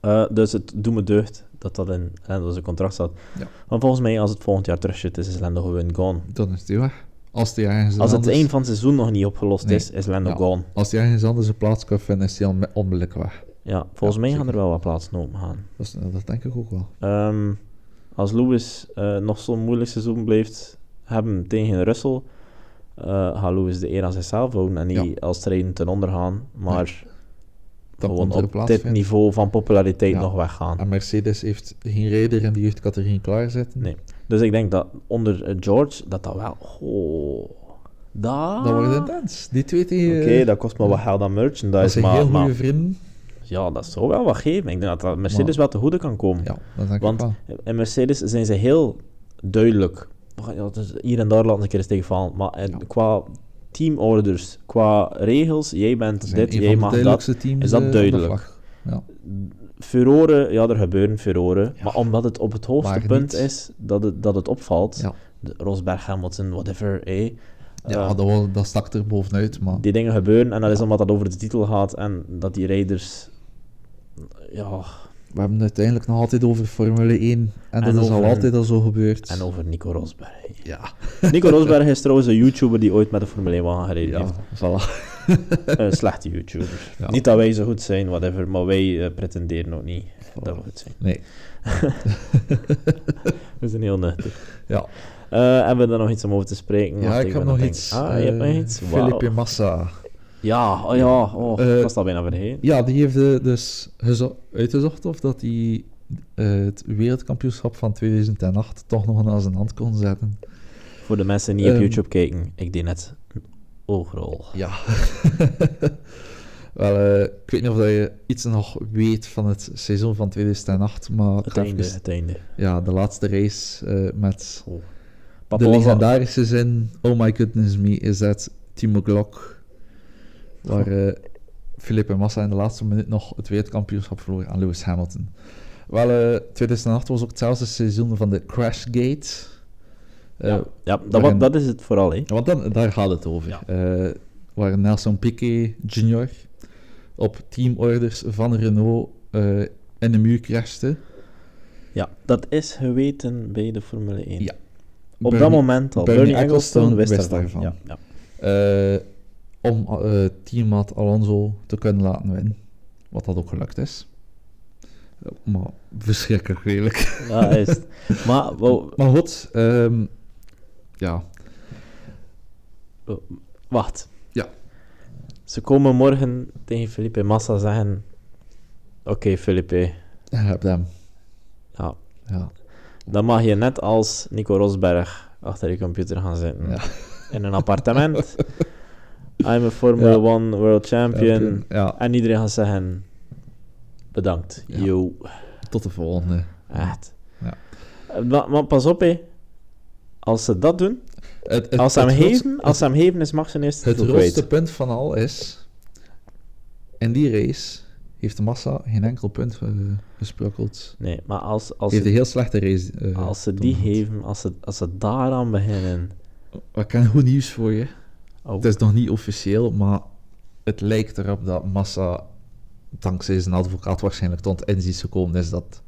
Speaker 1: Eh, dus het doet me deugd dat dat in Lendo's contract staat.
Speaker 2: Ja.
Speaker 1: Want volgens mij, als het volgend jaar terug zit, is Lendo gewoon gone.
Speaker 2: dan is die weg. Als die ergens
Speaker 1: Als het
Speaker 2: anders,
Speaker 1: één van het seizoen nog niet opgelost
Speaker 2: Nee.
Speaker 1: is, is Lando
Speaker 2: Ja.
Speaker 1: gone.
Speaker 2: als die ergens anders een plaats kan vinden, is die al me- onmiddellijk weg.
Speaker 1: Ja, volgens
Speaker 2: Ja,
Speaker 1: mij gaan
Speaker 2: zeker.
Speaker 1: er wel wat plaatsen open gaan.
Speaker 2: Dat, is- dat denk ik ook wel.
Speaker 1: Ehm, als Lewis eh, nog zo'n moeilijk seizoen blijft hebben tegen Russell, eh gaat Lewis de eer aan zichzelf houden en niet
Speaker 2: Ja.
Speaker 1: als trainen ten onder gaan, maar
Speaker 2: Dan
Speaker 1: gewoon
Speaker 2: komt er een
Speaker 1: op dit
Speaker 2: plaats vinden.
Speaker 1: niveau van populariteit
Speaker 2: Ja.
Speaker 1: nog weggaan.
Speaker 2: En Mercedes heeft geen reder in de jeugdcategorie klaarzetten.
Speaker 1: Nee. Dus ik denk dat onder eh, George, dat dat wel... Oh, dat...
Speaker 2: Dat wordt intens. Die twee tegen...
Speaker 1: Oké, dat kost me wat geld aan
Speaker 2: dat
Speaker 1: merchandise,
Speaker 2: zijn
Speaker 1: maar,
Speaker 2: heel
Speaker 1: maar-
Speaker 2: goede vrienden.
Speaker 1: ja, dat zou wel wat geven. Ik denk dat dat Mercedes
Speaker 2: Maar-
Speaker 1: wel te goede kan komen.
Speaker 2: Ja, dat denk
Speaker 1: Want-
Speaker 2: ik wel.
Speaker 1: In Mercedes zijn ze heel duidelijk. We gaan- ja, dus Hier en daar laten een keer eens tegenvallen. Maar eh,
Speaker 2: Ja.
Speaker 1: qua teamorders, qua regels, jij
Speaker 2: Dat
Speaker 1: bent
Speaker 2: zijn
Speaker 1: dit,
Speaker 2: een
Speaker 1: jij
Speaker 2: van de
Speaker 1: mag dat.
Speaker 2: duidelijkste teams,
Speaker 1: Is dat
Speaker 2: eh, op de
Speaker 1: duidelijk?
Speaker 2: vlag. Ja.
Speaker 1: Furoren, ja, er gebeuren furoren.
Speaker 2: Ja.
Speaker 1: Maar omdat het op het
Speaker 2: Maar
Speaker 1: hoogste punt
Speaker 2: niet.
Speaker 1: is dat het, dat het opvalt.
Speaker 2: Ja.
Speaker 1: De Rosberg, Hamilton, whatever. eh,
Speaker 2: ja,
Speaker 1: eh,
Speaker 2: dat, wel- dat stak er bovenuit, maar...
Speaker 1: die dingen gebeuren en dat is omdat dat over de titel gaat en dat die rijders. Ja,
Speaker 2: We hebben het uiteindelijk nog altijd over Formule 1. En,
Speaker 1: En
Speaker 2: dat is al
Speaker 1: over-
Speaker 2: altijd al zo gebeurd.
Speaker 1: en over Nico Rosberg. eh.
Speaker 2: Ja.
Speaker 1: Nico Rosberg is trouwens een YouTuber die ooit met de Formule 1 wagen gereden heeft.
Speaker 2: Ja, voilà.
Speaker 1: Een Eh, slechte YouTuber.
Speaker 2: Ja.
Speaker 1: Niet dat wij zo goed zijn, whatever, maar wij eh, pretenderen ook niet dat we goed zijn.
Speaker 2: Nee.
Speaker 1: We zijn heel nuttig.
Speaker 2: Ja,
Speaker 1: Eh, hebben we daar nog iets om over te spreken?
Speaker 2: ja
Speaker 1: Wacht,
Speaker 2: ik
Speaker 1: ben
Speaker 2: heb
Speaker 1: aan
Speaker 2: nog
Speaker 1: het
Speaker 2: iets.
Speaker 1: denken. Ah, je hebt nog
Speaker 2: Eh,
Speaker 1: iets? Wauw.
Speaker 2: Felipe Massa.
Speaker 1: Ja, oh ja, oh,
Speaker 2: Eh,
Speaker 1: ik was dat bijna vergeten.
Speaker 2: Ja, die heeft eh, dus gezo- uitgezocht of dat hij eh, het wereldkampioenschap van 2008 toch nog aan zijn hand kon zetten.
Speaker 1: Voor de mensen die op
Speaker 2: ehm,
Speaker 1: YouTube kijken, ik deed net een oogrol.
Speaker 2: Ja. Wel, eh, ik weet niet of dat je iets nog weet van het seizoen van 2008, maar
Speaker 1: Het
Speaker 2: even-
Speaker 1: einde, het einde.
Speaker 2: ja, de laatste race eh, met
Speaker 1: Oh. Papa
Speaker 2: de
Speaker 1: was al-
Speaker 2: legendarische zin Oh my goodness me, is dat Timo Glock, waar eh Felipe Massa in de laatste minuut nog het wereldkampioenschap verloor aan Lewis Hamilton. Wel, eh, 2008 was ook hetzelfde seizoen van de Crashgate. Eh,
Speaker 1: ja, ja dat,
Speaker 2: waarin-
Speaker 1: wa- dat is het vooral, hè.
Speaker 2: Want dan, daar gaat het over.
Speaker 1: Ja.
Speaker 2: Eh, waar Nelson Piquet Jr. op teamorders van Renault eh, in de muur crashte.
Speaker 1: Ja, dat is geweten bij de Formule 1.
Speaker 2: Ja.
Speaker 1: Op
Speaker 2: Bernie-
Speaker 1: dat moment al.
Speaker 2: Bernie
Speaker 1: Bernie Ecclestone
Speaker 2: Ecclestone
Speaker 1: wist
Speaker 2: wist
Speaker 1: daarvan.
Speaker 2: daarvan.
Speaker 1: Ja, ja.
Speaker 2: eh, om eh teammaat Alonso te kunnen laten winnen. Wat dat ook gelukt is. Eh, Maar verschrikkelijk redelijk.
Speaker 1: Ja, juist. Maar, wou-
Speaker 2: Maar goed, ehm, ja.
Speaker 1: wacht.
Speaker 2: Ja.
Speaker 1: Ze komen morgen tegen Felipe Massa zeggen... Oké, Felipe,
Speaker 2: Ik heb hem.
Speaker 1: Ja.
Speaker 2: Ja.
Speaker 1: dan mag je net als Nico Rosberg achter je computer gaan zitten.
Speaker 2: Ja.
Speaker 1: In een appartement. I'm a Formula
Speaker 2: Ja.
Speaker 1: 1 world champion.
Speaker 2: ja,
Speaker 1: En iedereen gaat zeggen... Bedankt.
Speaker 2: Ja.
Speaker 1: Yo.
Speaker 2: tot de volgende.
Speaker 1: Echt.
Speaker 2: Ja.
Speaker 1: Eh, Maar, maar pas op, hè. Als ze dat doen,
Speaker 2: Het, het-
Speaker 1: als ze hem
Speaker 2: het grootste-
Speaker 1: geven, als ze hem geven, is Max zijn eerste
Speaker 2: Het
Speaker 1: titel
Speaker 2: grootste
Speaker 1: kwijt.
Speaker 2: punt van al is... In die race heeft de massa geen enkel punt eh, gesprokkeld.
Speaker 1: Nee, maar als, als,
Speaker 2: heeft
Speaker 1: ze,
Speaker 2: een heel slechte race. eh,
Speaker 1: als ze die
Speaker 2: gehad.
Speaker 1: geven, als ze, als ze daaraan beginnen...
Speaker 2: Maar Ik heb goed nieuws voor je.
Speaker 1: Oh.
Speaker 2: Het is nog niet officieel, maar het lijkt erop dat Massa, dankzij zijn advocaat, waarschijnlijk tot inziens gekomen is dat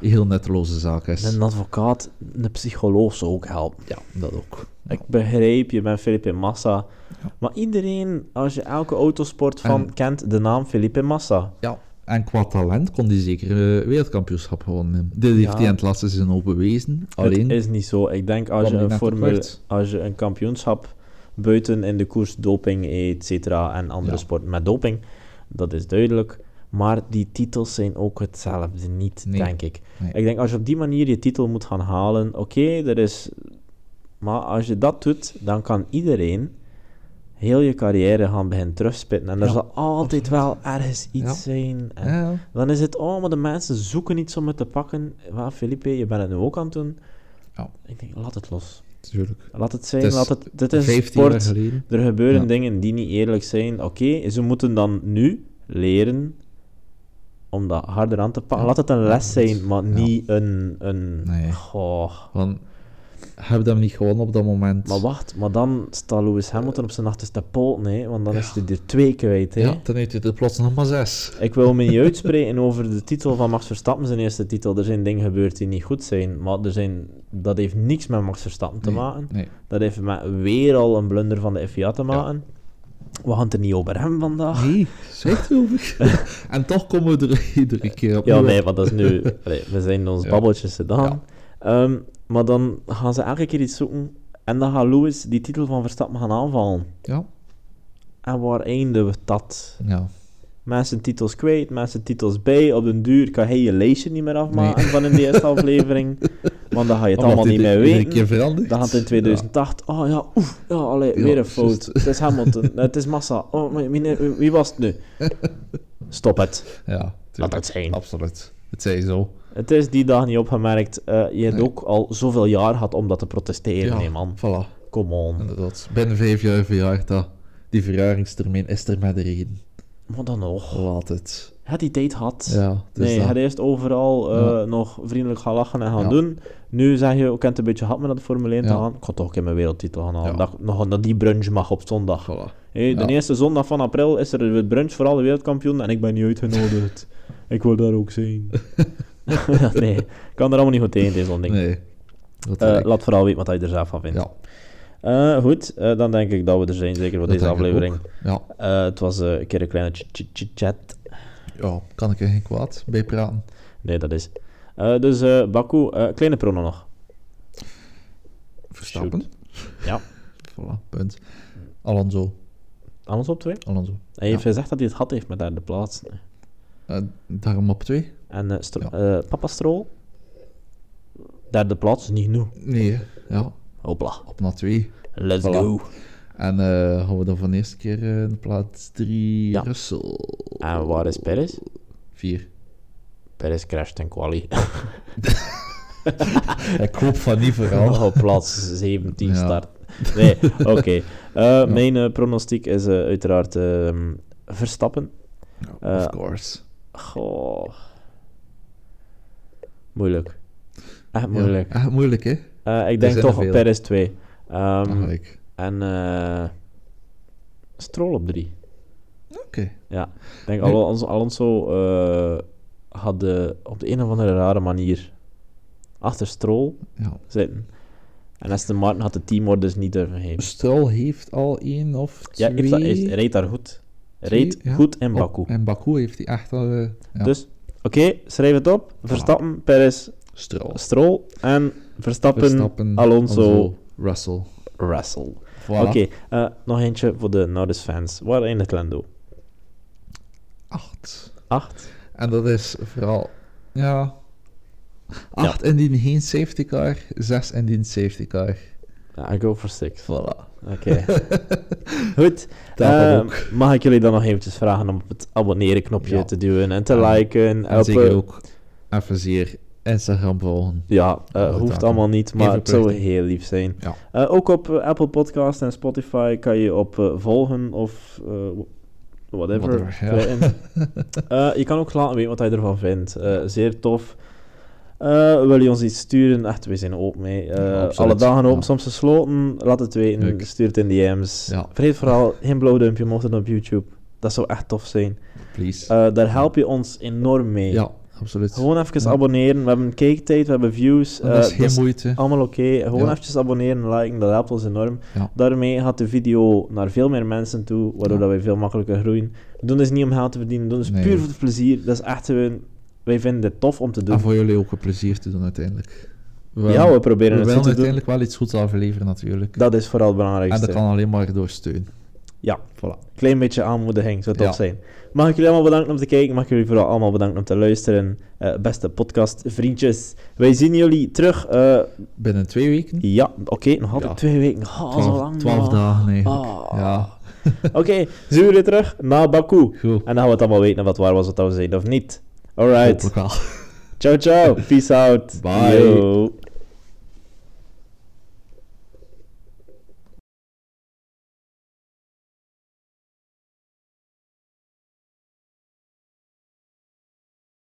Speaker 2: een heel netteloze zaak is.
Speaker 1: Een advocaat, een psycholoog zou ook helpen.
Speaker 2: Ja, dat ook.
Speaker 1: Ik begreep, je bent Felipe Massa.
Speaker 2: Ja.
Speaker 1: Maar iedereen, als je elke autosport van
Speaker 2: En-
Speaker 1: kent, de naam Felipe Massa.
Speaker 2: Ja, en qua talent kon hij zeker eh, wereldkampioenschap gewonnen. Dit heeft
Speaker 1: Ja.
Speaker 2: hij in het laatste seizoen al bewezen. Alleen,
Speaker 1: Het is niet zo. Ik denk als je
Speaker 2: kwam hij
Speaker 1: een,
Speaker 2: net op
Speaker 1: formule,
Speaker 2: kwart.
Speaker 1: als je een kampioenschap buiten in de koers doping, et cetera, en andere
Speaker 2: Ja.
Speaker 1: sporten met doping, dat is duidelijk. Maar die titels zijn ook hetzelfde niet,
Speaker 2: Nee.
Speaker 1: denk ik.
Speaker 2: Nee.
Speaker 1: Ik denk als je op die manier je titel moet gaan halen, oké, er is. Maar als je dat doet, dan kan iedereen heel je carrière gaan beginnen terugspitten. En er
Speaker 2: Ja,
Speaker 1: zal altijd wel ergens iets
Speaker 2: Ja.
Speaker 1: zijn. En
Speaker 2: Ja,
Speaker 1: dan is het, oh, maar de mensen zoeken iets om het te pakken. Wel, Felipe, je bent het nu ook aan het doen.
Speaker 2: Ja.
Speaker 1: Ik denk, laat het los.
Speaker 2: natuurlijk.
Speaker 1: Laat het zijn,
Speaker 2: Het is
Speaker 1: laat het... Dit is een
Speaker 2: 15 jaar
Speaker 1: sport.
Speaker 2: geleden.
Speaker 1: Er gebeuren
Speaker 2: Ja.
Speaker 1: dingen die niet eerlijk zijn. Oké, ze moeten dan nu leren om dat harder aan te pakken.
Speaker 2: Ja.
Speaker 1: Laat het een les
Speaker 2: Ja, dat-
Speaker 1: zijn, maar
Speaker 2: ja.
Speaker 1: niet een... een...
Speaker 2: Nee.
Speaker 1: Goh.
Speaker 2: Van, heb je hem niet gewonnen op dat moment?
Speaker 1: Maar wacht, maar dan staat Lewis Hamilton op zijn achterste poot, nee, want dan is hij er twee kwijt, hè.
Speaker 2: ja, dan heeft hij er plots nog maar zes.
Speaker 1: Ik wil me niet uitspreken over de titel van Max Verstappen, zijn eerste titel. Er zijn dingen gebeurd die niet goed zijn, maar er zijn, dat heeft niks met Max Verstappen te
Speaker 2: Nee,
Speaker 1: maken.
Speaker 2: Nee.
Speaker 1: Dat heeft met weer al een blunder van de FIA te maken. We gaan het er niet over hebben vandaag.
Speaker 2: Nee, zegt over. en toch komen we er iedere keer op.
Speaker 1: Ja, nee, want dat is nu... allee, we zijn ons
Speaker 2: Ja.
Speaker 1: babbeltjes gedaan. Ehm, maar dan gaan ze elke keer iets zoeken en dan gaat Lewis die titel van Verstappen gaan aanvallen.
Speaker 2: Ja,
Speaker 1: En waar eindigen we dat?
Speaker 2: ja.
Speaker 1: mensen titels kwijt, mensen titels bij. Op den duur kan hij je lijstje niet meer afmaken van in de eerste aflevering. Want dan ga je het allemaal niet meer
Speaker 2: Iedere
Speaker 1: weten.
Speaker 2: keer veranderd.
Speaker 1: Dan gaat het in 2008. Oh ja, oef. Ja, allee,
Speaker 2: Ja,
Speaker 1: weer een fout.
Speaker 2: juist.
Speaker 1: Het is Hamilton. het is Massa. Oh, maar meneer, wie, wie was het nu? Stop het.
Speaker 2: Ja, ja
Speaker 1: Laat
Speaker 2: tuurlijk.
Speaker 1: het zijn.
Speaker 2: Absoluut. Het zij zo.
Speaker 1: Het is die dag niet opgemerkt. Eh, je hebt
Speaker 2: Nee.
Speaker 1: ook al zoveel jaar gehad om dat te protesteren,
Speaker 2: Ja,
Speaker 1: nee man.
Speaker 2: Voilà,
Speaker 1: Come on.
Speaker 2: inderdaad. Binnen vijf jaar verjaardag. Die verjaringstermijn is er met de reden.
Speaker 1: Maar dan nog.
Speaker 2: Laat het.
Speaker 1: Had die tijd gehad.
Speaker 2: Ja, dus
Speaker 1: nee,
Speaker 2: dat.
Speaker 1: hij had eerst overal eh,
Speaker 2: Ja.
Speaker 1: nog vriendelijk gaan lachen en gaan
Speaker 2: Ja.
Speaker 1: doen. Nu zeg je, ik heb het een beetje gehad met dat Formule 1 te
Speaker 2: Ja.
Speaker 1: gaan. Ik ga toch een keer mijn wereldtitel gaan halen.
Speaker 2: Ja.
Speaker 1: Dat, ik nog dat die brunch mag op zondag.
Speaker 2: Voilà.
Speaker 1: Hé, de
Speaker 2: Ja.
Speaker 1: eerste zondag van april is er een brunch voor alle wereldkampioenen en ik ben niet uitgenodigd. ik wil daar ook zijn. nee, ik kan er allemaal niet goed tegen, deze zo'n ding.
Speaker 2: Nee. Dat
Speaker 1: Eh,
Speaker 2: denk ik.
Speaker 1: laat vooral weten wat hij er zelf van vindt.
Speaker 2: ja,
Speaker 1: Eh, goed, eh, dan denk ik dat we er zijn, zeker voor
Speaker 2: dat
Speaker 1: deze
Speaker 2: denk ik
Speaker 1: aflevering.
Speaker 2: ook. Ja.
Speaker 1: Eh, het was eh, een keer een kleine ch- ch- ch- chat.
Speaker 2: ja, kan ik er geen kwaad bij praten.
Speaker 1: Nee, dat is. Eh, dus eh Baku, eh, kleine prono nog.
Speaker 2: Verstappen.
Speaker 1: Ja.
Speaker 2: Voilà, punt. Alonso.
Speaker 1: Alles op twee.
Speaker 2: Alonso.
Speaker 1: Hij heeft gezegd dat hij het had heeft met derde plaats.
Speaker 2: Eh, daarom op twee?
Speaker 1: En eh, Stro-
Speaker 2: Ja.
Speaker 1: eh, Papa Strol, derde plaats is niet genoeg.
Speaker 2: Nee, hè. ja.
Speaker 1: Hopla,
Speaker 2: Op naar twee.
Speaker 1: let's
Speaker 2: Voilà.
Speaker 1: go.
Speaker 2: En eh gaan we dan van de eerste keer eh, de plaats 3
Speaker 1: Ja.
Speaker 2: Russell.
Speaker 1: En waar is Perez?
Speaker 2: 4.
Speaker 1: Perez crasht in quali.
Speaker 2: Ik hoop van niet vooral.
Speaker 1: Oh, op plaats 17
Speaker 2: Ja.
Speaker 1: start. Nee, oké. Eh, Mijn eh, pronostiek is eh, uiteraard ehm, Verstappen. Eh,
Speaker 2: of course.
Speaker 1: Goh. Moeilijk. Echt moeilijk.
Speaker 2: Ja, echt Ah, moeilijk, hè?
Speaker 1: Eh, ik denk
Speaker 2: zijn
Speaker 1: toch
Speaker 2: er veel.
Speaker 1: Perez 2. Ehm,
Speaker 2: Ah, ik.
Speaker 1: en eh Stroll op 3.
Speaker 2: Oké.
Speaker 1: Ja, ik denk
Speaker 2: Nu-
Speaker 1: Alonso, Alonso eh, had de, op de een of andere rare manier achter Stroll
Speaker 2: Ja.
Speaker 1: zitten. En Aston Martin had de teamor dus niet durven geven.
Speaker 2: Stroll heeft al één of
Speaker 1: Ja,
Speaker 2: twee...
Speaker 1: heeft, dat- heeft, reed daar goed.
Speaker 2: twee-
Speaker 1: Reed
Speaker 2: ja.
Speaker 1: goed in
Speaker 2: Oh,
Speaker 1: Baku.
Speaker 2: en Baku heeft hij echt al... eh, ja.
Speaker 1: Dus, oké, schrijf het op. Verstappen, Perez,
Speaker 2: Stroll.
Speaker 1: Stroll en Verstappen,
Speaker 2: Verstappen,
Speaker 1: Alonso,
Speaker 2: Russell.
Speaker 1: Russell.
Speaker 2: Voilà.
Speaker 1: Oké, eh, nog eentje voor de Norris fans. Waar eindigt Lando?
Speaker 2: Acht.
Speaker 1: Acht?
Speaker 2: En dat is vooral... Ja... Acht indien geen safety car, zes indien safety car.
Speaker 1: Ja, I go for six.
Speaker 2: Voilà.
Speaker 1: Oké. Goed.
Speaker 2: Daarvan
Speaker 1: eh,
Speaker 2: ook.
Speaker 1: mag ik jullie dan nog eventjes vragen om op het abonneren knopje
Speaker 2: Ja.
Speaker 1: te duwen en te
Speaker 2: En-
Speaker 1: liken.
Speaker 2: En
Speaker 1: helpen.
Speaker 2: zeker ook even zeer Instagram volgen.
Speaker 1: Ja, eh,
Speaker 2: Alle
Speaker 1: hoeft
Speaker 2: taken.
Speaker 1: allemaal niet, maar
Speaker 2: Even
Speaker 1: het zou
Speaker 2: plichten.
Speaker 1: heel lief zijn.
Speaker 2: Ja.
Speaker 1: Eh, ook op eh, Apple Podcast en Spotify kan je op eh, volgen of eh, wh- whatever.
Speaker 2: Whatever, ja.
Speaker 1: klikken. Eh, je kan ook laten weten wat je ervan vindt. Eh, zeer tof. Eh, wil je ons iets sturen? Echt, we zijn open mee. Eh,
Speaker 2: Ja, absoluut.
Speaker 1: alle dagen open,
Speaker 2: Ja.
Speaker 1: soms gesloten. Laat het weten.
Speaker 2: Leuk.
Speaker 1: Stuur het in DM's.
Speaker 2: Ja.
Speaker 1: Vergeet vooral geen blauwdumpje, mocht het op YouTube. Dat zou echt tof zijn.
Speaker 2: Please.
Speaker 1: Eh, daar help je ons enorm mee.
Speaker 2: ja, absoluut.
Speaker 1: Gewoon even
Speaker 2: Ja.
Speaker 1: abonneren. We hebben kijktijd, we hebben views.
Speaker 2: dat is
Speaker 1: eh,
Speaker 2: geen
Speaker 1: dat is
Speaker 2: moeite.
Speaker 1: allemaal oké. Gewoon
Speaker 2: Ja.
Speaker 1: eventjes abonneren, liken, dat helpt ons enorm.
Speaker 2: Ja.
Speaker 1: Daarmee gaat de video naar veel meer mensen toe, waardoor
Speaker 2: Ja.
Speaker 1: dat wij veel makkelijker groeien. We doen dit niet om geld te verdienen, we doen dit
Speaker 2: Nee.
Speaker 1: puur voor het plezier. Dat is echt gewoon... Wij vinden dit tof om te doen.
Speaker 2: En Ah, voor jullie ook een plezier te doen uiteindelijk. We
Speaker 1: ja, we
Speaker 2: we
Speaker 1: proberen het
Speaker 2: willen
Speaker 1: goed te doen.
Speaker 2: uiteindelijk wel iets goeds afleveren natuurlijk.
Speaker 1: Dat is vooral het
Speaker 2: en
Speaker 1: belangrijkste.
Speaker 2: dat kan alleen maar door steun.
Speaker 1: Ja,
Speaker 2: Voilà.
Speaker 1: klein beetje aanmoediging zou tof
Speaker 2: Ja.
Speaker 1: zijn. Mag ik jullie allemaal bedanken om te kijken. Mag ik jullie vooral allemaal bedanken om te luisteren. Eh, beste podcastvriendjes. Wij zien jullie terug. eh,
Speaker 2: Binnen twee weken,
Speaker 1: ja, oké, nog altijd
Speaker 2: Ja.
Speaker 1: twee weken. Ah, zo
Speaker 2: twaalf,
Speaker 1: lang
Speaker 2: twaalf
Speaker 1: nog.
Speaker 2: dagen eigenlijk.
Speaker 1: Ah.
Speaker 2: Ja,
Speaker 1: Oké, zien we weer terug naar Baku. En
Speaker 2: goed.
Speaker 1: dan gaan we het allemaal weten of het waar was wat we zeiden of niet. Alright.
Speaker 2: Hopelijk wel.
Speaker 1: Ciao, ciao. Peace out.
Speaker 2: Bye.
Speaker 1: Yo.